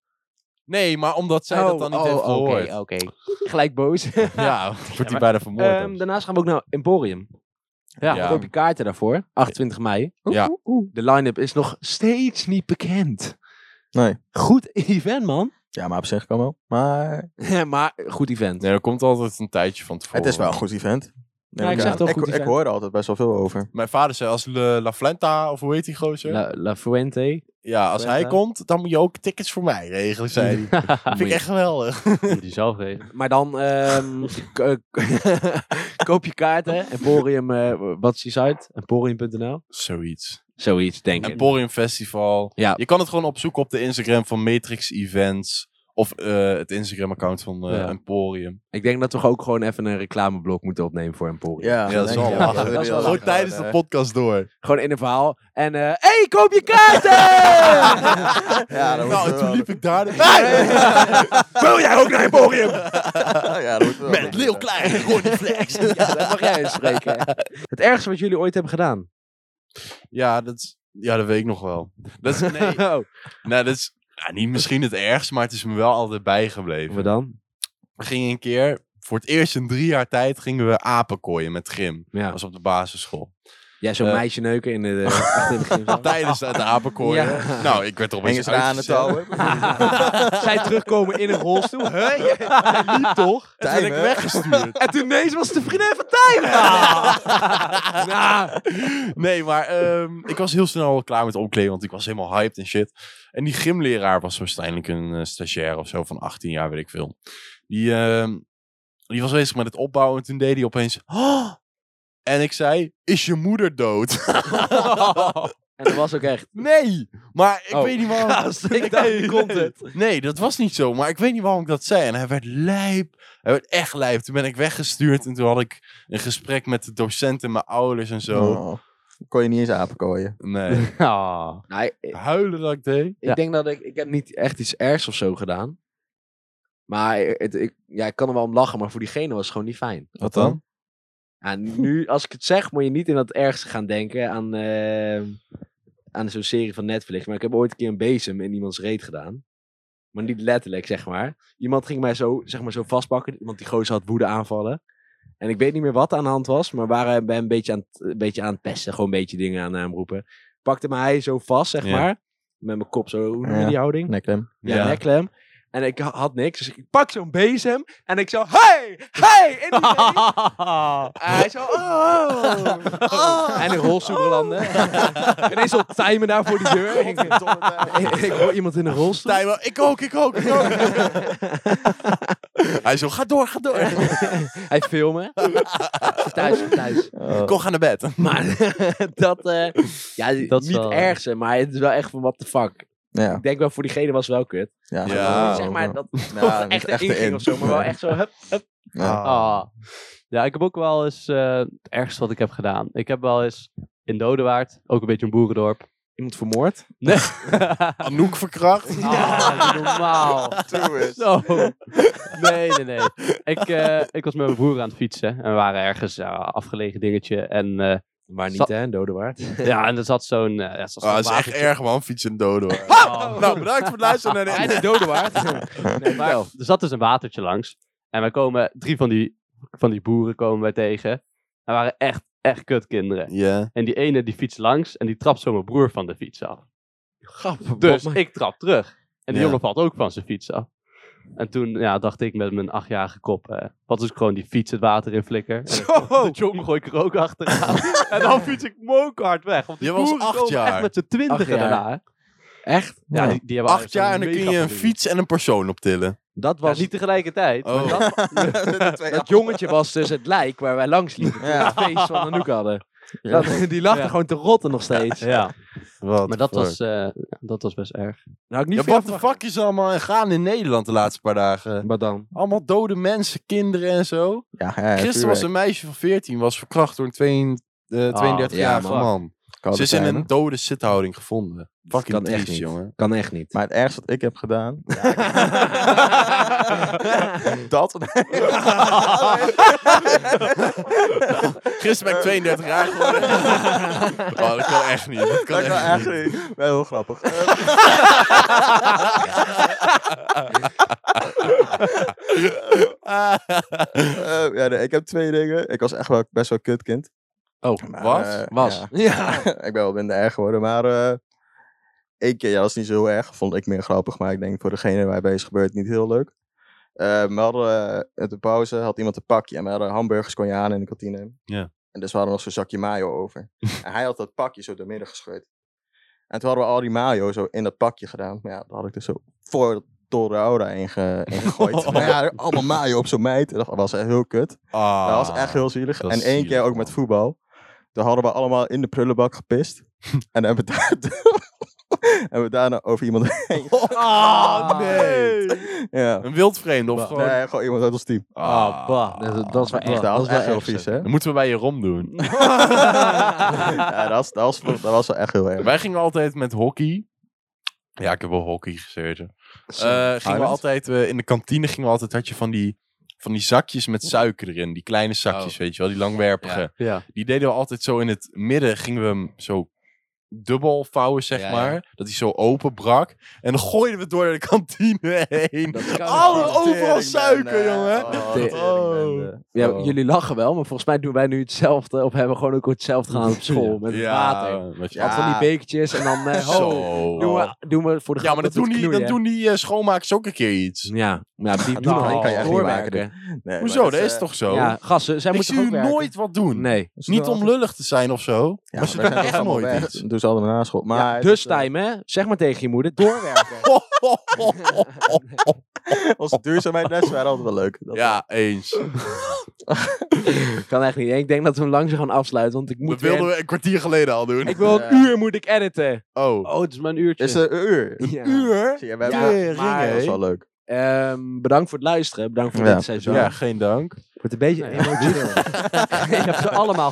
S1: Nee, maar omdat zij dat dan niet heeft
S2: Oh, oké,
S1: gehoord.
S2: Oké, Gelijk boos.
S1: Ja, wordt hij bijna vermoord.
S2: Ehm, daarnaast gaan we ook naar Emporium.
S4: Ja.
S1: Ja.
S2: Koop je kaarten daarvoor. 28 mei.
S1: Ja.
S2: Oeh, oeh, oeh. De line-up is nog steeds niet bekend.
S3: Nee.
S2: Goed event, man.
S3: Ja, maar op zich kan wel. Maar
S2: maar goed event.
S1: nee, er komt altijd een tijdje van tevoren.
S3: het is wel een goed event. Neem
S2: ik zeg
S3: aan.
S2: toch
S3: ik,
S2: goed
S3: ik
S2: event.
S3: hoor er altijd best wel veel over.
S1: Mijn vader zei, als La, La Flenta, of hoe heet die gozer?
S2: La, La Fuente.
S1: ja, als hij
S2: Fuente.
S1: komt, dan moet je ook tickets voor mij regelen, zei hij. Vind ik echt geweldig.
S4: Moet je zelf regelen.
S2: Maar dan ehm, k- k- koop je kaarten. Emporium, eh, wat is die site? Emporium.nl?
S1: Zoiets.
S2: Zoiets, denk ik.
S1: Emporium Festival.
S2: Ja.
S1: Je kan het gewoon opzoeken op de Instagram van Matrix Events. Of eh, het Instagram-account van eh,
S4: Ja.
S1: Emporium.
S2: Ik denk dat we ook gewoon even een reclameblok moeten opnemen voor Emporium.
S3: Ja,
S1: Ja, dat is wel lachen.
S2: Dat is wel
S1: Gewoon tijdens de podcast door.
S2: Gewoon in een verhaal. En, eh hey, koop je kaarten!
S3: Ja, dat
S1: nou, en
S3: wordt
S1: toen
S3: wel.
S1: liep ik daar. Nee!
S2: Wil jij ook naar Emporium?
S3: Ja, dat wordt wel.
S1: Met Leeuw Klein, Ronnie Flex.
S2: Ja, dat mag jij spreken. Het ergste wat jullie ooit hebben gedaan.
S1: Ja, dat, is- ja, dat weet ik nog wel. Dat is, nee,
S2: Oh,
S1: nou, dat is ja, niet misschien het ergst, maar het is me wel altijd bijgebleven.
S2: wat dan?
S1: We gingen een keer, voor het eerst in drie jaar tijd, gingen we apenkooien met Grim.
S2: Ja,
S1: Dat was op de basisschool.
S2: ja zo'n
S1: Eh.
S2: meisje neuken in de... echt in de gymzaal.
S1: Tijdens het apenkooien.
S2: Ja.
S1: Nou, ik werd er
S3: Hingen
S1: opeens
S3: ze aan het
S1: uitgezet.
S3: touwen.
S2: Zij terugkomen in een rolstoel. Hè? Jij liep toch?
S1: En toen werd ik
S3: Tijmen.
S1: weggestuurd.
S2: En toen ineens was de vriendin van Tijmen. Nou,
S1: Nee, maar ehm, ik was heel snel al klaar met omkleden, want ik was helemaal hyped en shit. En die gymleraar was waarschijnlijk een eh, stagiair of zo van 18 jaar, weet ik veel. Die, ehm, die was bezig met het opbouwen en toen deed hij opeens... "Oh!" En ik zei, is je moeder dood?
S2: En dat was ook echt.
S1: nee, maar ik
S2: Oh.
S1: weet niet waarom...
S2: Gast, ik dacht,
S1: Nee,
S2: nu komt
S1: nee.
S2: het.
S1: Nee, dat was niet zo. Maar ik weet niet waarom ik dat zei. En hij werd lijp. Hij werd echt lijp. Toen ben ik weggestuurd. En toen had ik een gesprek met de docent en mijn ouders en zo.
S3: Oh, Kon je niet eens apenkooien.
S1: Nee.
S4: Ah.
S2: Nou, ik, ik
S1: Huilen dat ik deed.
S4: Ja.
S2: denk dat ik... Ik heb niet echt iets ergs of zo gedaan. Maar het, ik, ja, ik kan er wel om lachen, maar voor diegene was het gewoon niet fijn.
S1: Wat
S3: dan?
S2: Ja, nu, als ik het zeg, moet je niet in dat ergste gaan denken aan, eh, aan zo'n serie van Netflix. Maar ik heb ooit een keer een bezem in iemands reet gedaan. Maar niet letterlijk, zeg maar. Iemand ging mij zo, zeg maar, zo vastpakken. Iemand die gozer had woede aanvallen. En ik weet niet meer wat aan de hand was. Maar we waren bij een beetje aan het, een beetje aan het pesten. Gewoon een beetje dingen aan hem roepen. Pakte mij zo vast, zeg
S1: Ja.
S2: maar. Met mijn kop zo, hoe noem je
S3: Ja.
S2: die houding?
S3: Neklem.
S2: Ja,
S1: Ja.
S2: nekklem. En ik ha- had niks. Dus ik pak zo'n bezem. En ik zo, hey, hey, in die reet. En hij zo, oh. En in rolstoel belanden. Ineens al timen daar voor die deur. ik, nou, ik hoor iemand in een rolstoel.
S1: Tijmen, ik ook, ik ook, ik ook. Hij zo, ga door, ga door.
S2: Hij filmen. thuis, thuis.
S3: Oh.
S1: Kom, ga naar bed.
S2: Maar dat, eh, ja,
S4: Dat is
S2: niet
S4: wel-
S2: erg, hè, maar het is wel echt van what the fuck.
S3: Ja.
S2: Ik denk wel voor diegene was wel kut.
S3: Ja.
S1: Ja.
S2: zeg maar dat het
S3: Ja,
S2: toch
S3: dat
S2: Nou, echt een
S3: echt
S2: inging
S3: erin.
S2: of zo, maar wel echt zo hup.
S3: Ja.
S4: Ah. Ja, ik heb ook wel eens eh, het ergste wat ik heb gedaan. Ik heb wel eens in Dodewaard, ook een beetje een boerendorp.
S2: Iemand vermoord.
S4: Nee.
S1: Anouk verkracht.
S4: Ah, normaal. Zo. Nee, nee, nee. Ik, eh, ik was met mijn broer aan het fietsen. En we waren ergens eh, afgelegen dingetje. En eh,
S2: Maar
S4: Zat-
S2: niet hè, dode waard.
S4: ja, en er zat zo'n... eh, ja, er zat
S1: Ah,
S4: zo'n
S1: dat is echt
S4: wagentje.
S1: erg, man. Fietsen dood, hoor.
S4: Oh.
S1: Nou, bedankt voor het luisteren naar
S2: Hij
S1: de...
S2: is dode waard.
S4: Nee, maar er zat dus een watertje langs. En wij komen, drie van die, van die boeren komen wij tegen. En waren echt, echt kutkinderen.
S1: Ja.
S4: En die ene die fietst langs en die trapt zo mijn broer van de fiets af.
S2: Grappig.
S4: Dus ik trap terug. En die
S1: Ja.
S4: jongen valt ook van zijn fiets af. En toen ja, dacht ik met mijn achtjarige kop, eh, wat is gewoon die fiets het water in flikker. En
S2: Zo.
S4: de jong gooi ik er ook achteraan. en dan fiets ik mokerhard weg. Want die
S1: Je was
S4: boeren
S1: acht
S4: komen
S1: jaar.
S4: echt met z'n twintigen
S2: Acht jaar.
S4: daarna. hè.
S2: Echt?
S4: Ja,
S3: Ja.
S4: die, die hebben
S1: Acht
S4: zo'n
S1: jaar en dan kun je een
S4: megabonding.
S1: fiets en een persoon optillen.
S2: Dat
S4: Ja,
S2: was
S4: niet tegelijkertijd. maar
S1: Oh.
S4: dat-
S2: Dat jongetje was dus het lijk waar wij langs liepen. Toen we
S3: Ja.
S2: het feest van Anouk hadden.
S3: Ja.
S2: Dat- die lachte
S4: Ja.
S2: gewoon te rotten nog steeds.
S4: ja.
S1: Wat
S4: maar dat was, eh, dat was best erg.
S2: Nou, ik niet
S1: Ja,
S2: veel
S1: wat de
S2: verwacht.
S1: fuck is er allemaal gaan in Nederland de laatste paar dagen?
S2: Maar dan.
S1: Allemaal dode mensen, kinderen en zo.
S3: Ja, ja,
S1: Gisteren was
S3: tuurlijk. Ah,
S1: een meisje van 14, was verkracht door een twee- eh, 32-jarige
S3: ja, man.
S1: man.
S3: Kan
S1: Ze is in
S3: zijn, hè?
S1: een dode zithouding gevonden. Fucking
S2: kan echt
S1: triest,
S2: niet.
S1: jongen.
S2: Kan echt niet.
S3: Maar het ergste wat ik heb gedaan... dat...
S1: Gisteren ben ik 32 jaar geworden. oh, dat kan echt niet. Dat kan
S3: Dat kan
S1: echt niet.
S3: echt niet. Wel heel grappig. Ehm, Eh, ja, nee, ik heb twee dingen. Ik was echt wel best wel kutkind.
S4: Oh,
S3: Maar,
S1: was?
S3: eh,
S4: Was.
S3: ja.
S2: Ja.
S3: ik ben wel minder erg geworden, maar... eh ik, ja, dat is niet zo heel erg. Vond ik meer grappig, maar ik denk voor degene waarbij is gebeurd niet heel leuk. Eh, we hadden eh, uit de pauze, had iemand een pakje. En we hadden hamburgers kon je aan in de kantine.
S1: Ja.
S3: En dus we hadden nog zo'n zakje mayo over. en hij had dat pakje zo doormidden gescheurd. En toen hadden we al die mayo zo in dat pakje gedaan. Maar ja, dat had ik dus zo voor de Tolre Aura in, ge- in gegooid. maar ja, allemaal mayo op zo'n meid. Dat was echt heel kut.
S1: Ah.
S3: Dat was echt heel zielig.
S1: dat
S3: En
S1: is
S3: één keer
S1: zielig,
S3: ook met
S1: man.
S3: voetbal. Toen hadden we allemaal in de prullenbak gepist. en hebben we, daar, hebben we daarna over iemand heen.
S1: Ah, nee.
S3: Ja.
S1: Een wildvreemde of gewoon...
S3: Nee, gewoon iemand uit ons team. Dus
S1: Ah.
S2: bah. Dat, dat is wel
S3: Dat was
S2: echt.
S3: daar
S2: Dat
S3: was
S2: is wel
S3: echt heel
S2: erg.
S3: vies,
S2: zeg.
S3: hè?
S1: Dat moeten we bij je rom doen.
S3: ja, dat was, dat, was, dat was wel echt heel erg.
S1: Wij gingen altijd met hockey. Ja, ik heb wel hockey gezeten. Eh, gingen we
S3: Highland?
S1: altijd, eh, in de kantine gingen we altijd, had je van die, van die zakjes met suiker erin. Die kleine zakjes, weet je wel, die langwerpige.
S4: Ja.
S1: Die deden we altijd zo in het midden, gingen we hem zo dubbel vouwen, zeg
S4: Ja, ja.
S1: maar. Dat hij zo open brak. En dan gooiden we het door de kantine heen. Alle overal suiker, jongen.
S3: Oh,
S2: Ja,
S1: Oh.
S2: Jullie lachen wel, maar volgens mij doen wij nu hetzelfde. Of hebben we gewoon ook hetzelfde gedaan op school. Met het water.
S1: met je-
S2: Had van die bekertjes en dan... eh, ho,
S1: Zo.
S2: doen, we, doen we voor de
S1: Ja, maar dat
S2: grap
S1: doen die,
S2: knoeien.
S1: dat doen die eh, schoonmakers ook een keer iets.
S2: Ja, Ah, maar ja, die doen
S1: Nou,
S2: alleen
S1: kan je
S3: echt niet
S2: doorwerken.
S1: Hoezo? Dat
S3: eh,
S1: is toch zo?
S2: dus. Ja, gassen, zij
S1: ik
S2: moeten
S1: zie u
S2: toch ook werken?
S1: nooit wat doen.
S2: Nee.
S1: Niet om lullig te zijn of zo. maar ze doen echt nooit
S3: echt.
S1: iets.
S3: Dus allemaal naschool. Maar
S2: Ja,
S3: het
S2: dus
S3: is, eh,
S2: time, hè? Zeg maar tegen je moeder, doorwerken.
S3: Onze duurzaamheidslessen waren altijd wel leuk. Dat-
S1: ja, eens.
S2: kan echt niet. Ik denk dat we hem langzaam gaan afsluiten, want ik moet
S1: Dat wilden
S2: weer-
S1: we een kwartier geleden al doen.
S2: Ik wil een
S3: Ja.
S2: uur moet ik editen.
S1: Oh.
S4: Oh, het is maar een uurtje.
S3: Is er een uur?
S2: Ja.
S1: Uur?
S3: Zie je, we hebben-
S1: Tering,
S3: maar dat was
S1: hé.
S3: wel leuk.
S2: Ehm, bedankt voor het luisteren. Bedankt voor
S3: Ja.
S2: dit seizoen.
S1: Ja, geen dank.
S2: Wordt een beetje
S4: Nee,
S2: emotioneel.
S4: ik heb ze allemaal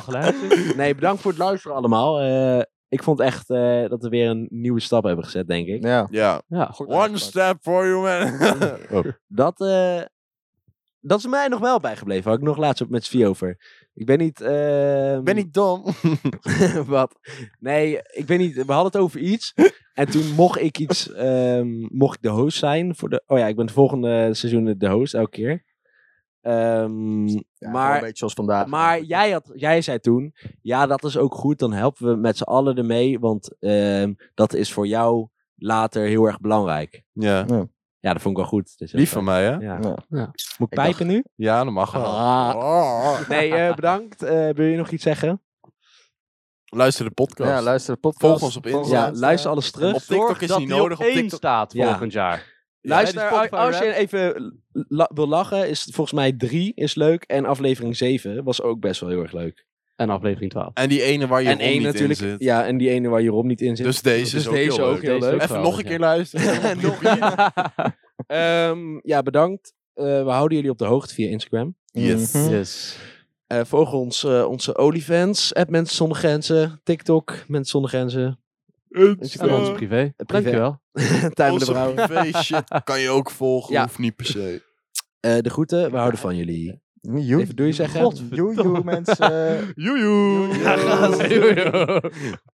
S4: geluisterd.
S2: nee, bedankt voor het luisteren allemaal. Eh, ik vond echt eh, dat we weer een nieuwe stap hebben gezet, denk ik.
S3: Ja.
S1: Ja.
S4: Ja.
S1: One step for you, man.
S2: Dat, eh, dat is mij nog wel bijgebleven. Had ik nog laatst op met Sofie over. Ik ben niet... ehm,
S1: Ben ik dom?
S2: Wat? Nee, ik weet niet. We hadden het over iets. En toen mocht ik iets. ehm, mocht ik de host zijn voor de. Oh ja, ik ben het volgende seizoen de host elke keer. Ehm,
S3: Ja,
S2: Maar-
S3: wel een beetje zoals vandaag.
S2: maar jij, had, jij zei toen. Ja, dat is ook goed. Dan helpen we met z'n allen ermee. Want ehm, dat is voor jou later heel erg belangrijk.
S1: Ja.
S2: Ja, dat vond ik wel goed. Dus
S1: Lief van mij, hè?
S2: Ja.
S3: Ja.
S4: Ja.
S2: Moet ik pijpen nu?
S1: Ja, dat mag wel.
S2: Ah.
S1: Oh.
S2: Nee, eh, bedankt. Eh, wil je nog iets zeggen?
S1: Luister de podcast.
S3: Ja, luister de podcast.
S1: Volg ons op Insta.
S2: Ja, luister alles terug.
S1: Op TikTok
S4: Zorg
S1: is
S4: dat
S1: niet
S4: die op
S1: nodig, op
S4: één
S1: TikTok-
S4: staat
S2: Ja.
S4: volgend jaar.
S1: Ja,
S2: Luister,
S4: die Spotify
S2: al- als je
S4: rap.
S2: even la- wil lachen, is het volgens mij 3 is leuk. En aflevering 7 was ook best wel heel erg leuk.
S4: En aflevering 12.
S1: En die ene waar je
S2: en
S1: en
S2: één
S1: niet
S2: natuurlijk.
S1: in zit.
S2: Ja, en die ene waar Jeroen niet in zit.
S1: Dus deze
S2: Dus
S1: is ook
S2: deze
S1: heel
S2: ook
S1: leuk.
S2: heel
S4: Deze
S2: leuk.
S4: ook
S1: Even
S4: wel,
S1: nog een
S4: ja.
S1: keer luisteren.
S2: Nog- Ehm, ja, bedankt. Eh, we houden jullie op de hoogte via Instagram.
S1: Yes.
S3: Mhm.
S4: Yes.
S2: Eh volg ons, eh, onze OnlyFans, app Mensen Zonder Grenzen, TikTok, Mensen Zonder Grenzen,
S4: En
S2: Eh,
S4: ons Dus privé. Dankjewel.
S2: Tuin de
S1: Onze
S2: Brouwer.
S1: privé shit kan je ook volgen,
S2: Ja.
S1: hoeft niet per se.
S2: Eh, de groeten, we houden van jullie.
S3: Joe.
S2: Even doei zeggen.
S3: Joe, joe, mensen.
S1: Joejoe!
S2: Ja, gasten.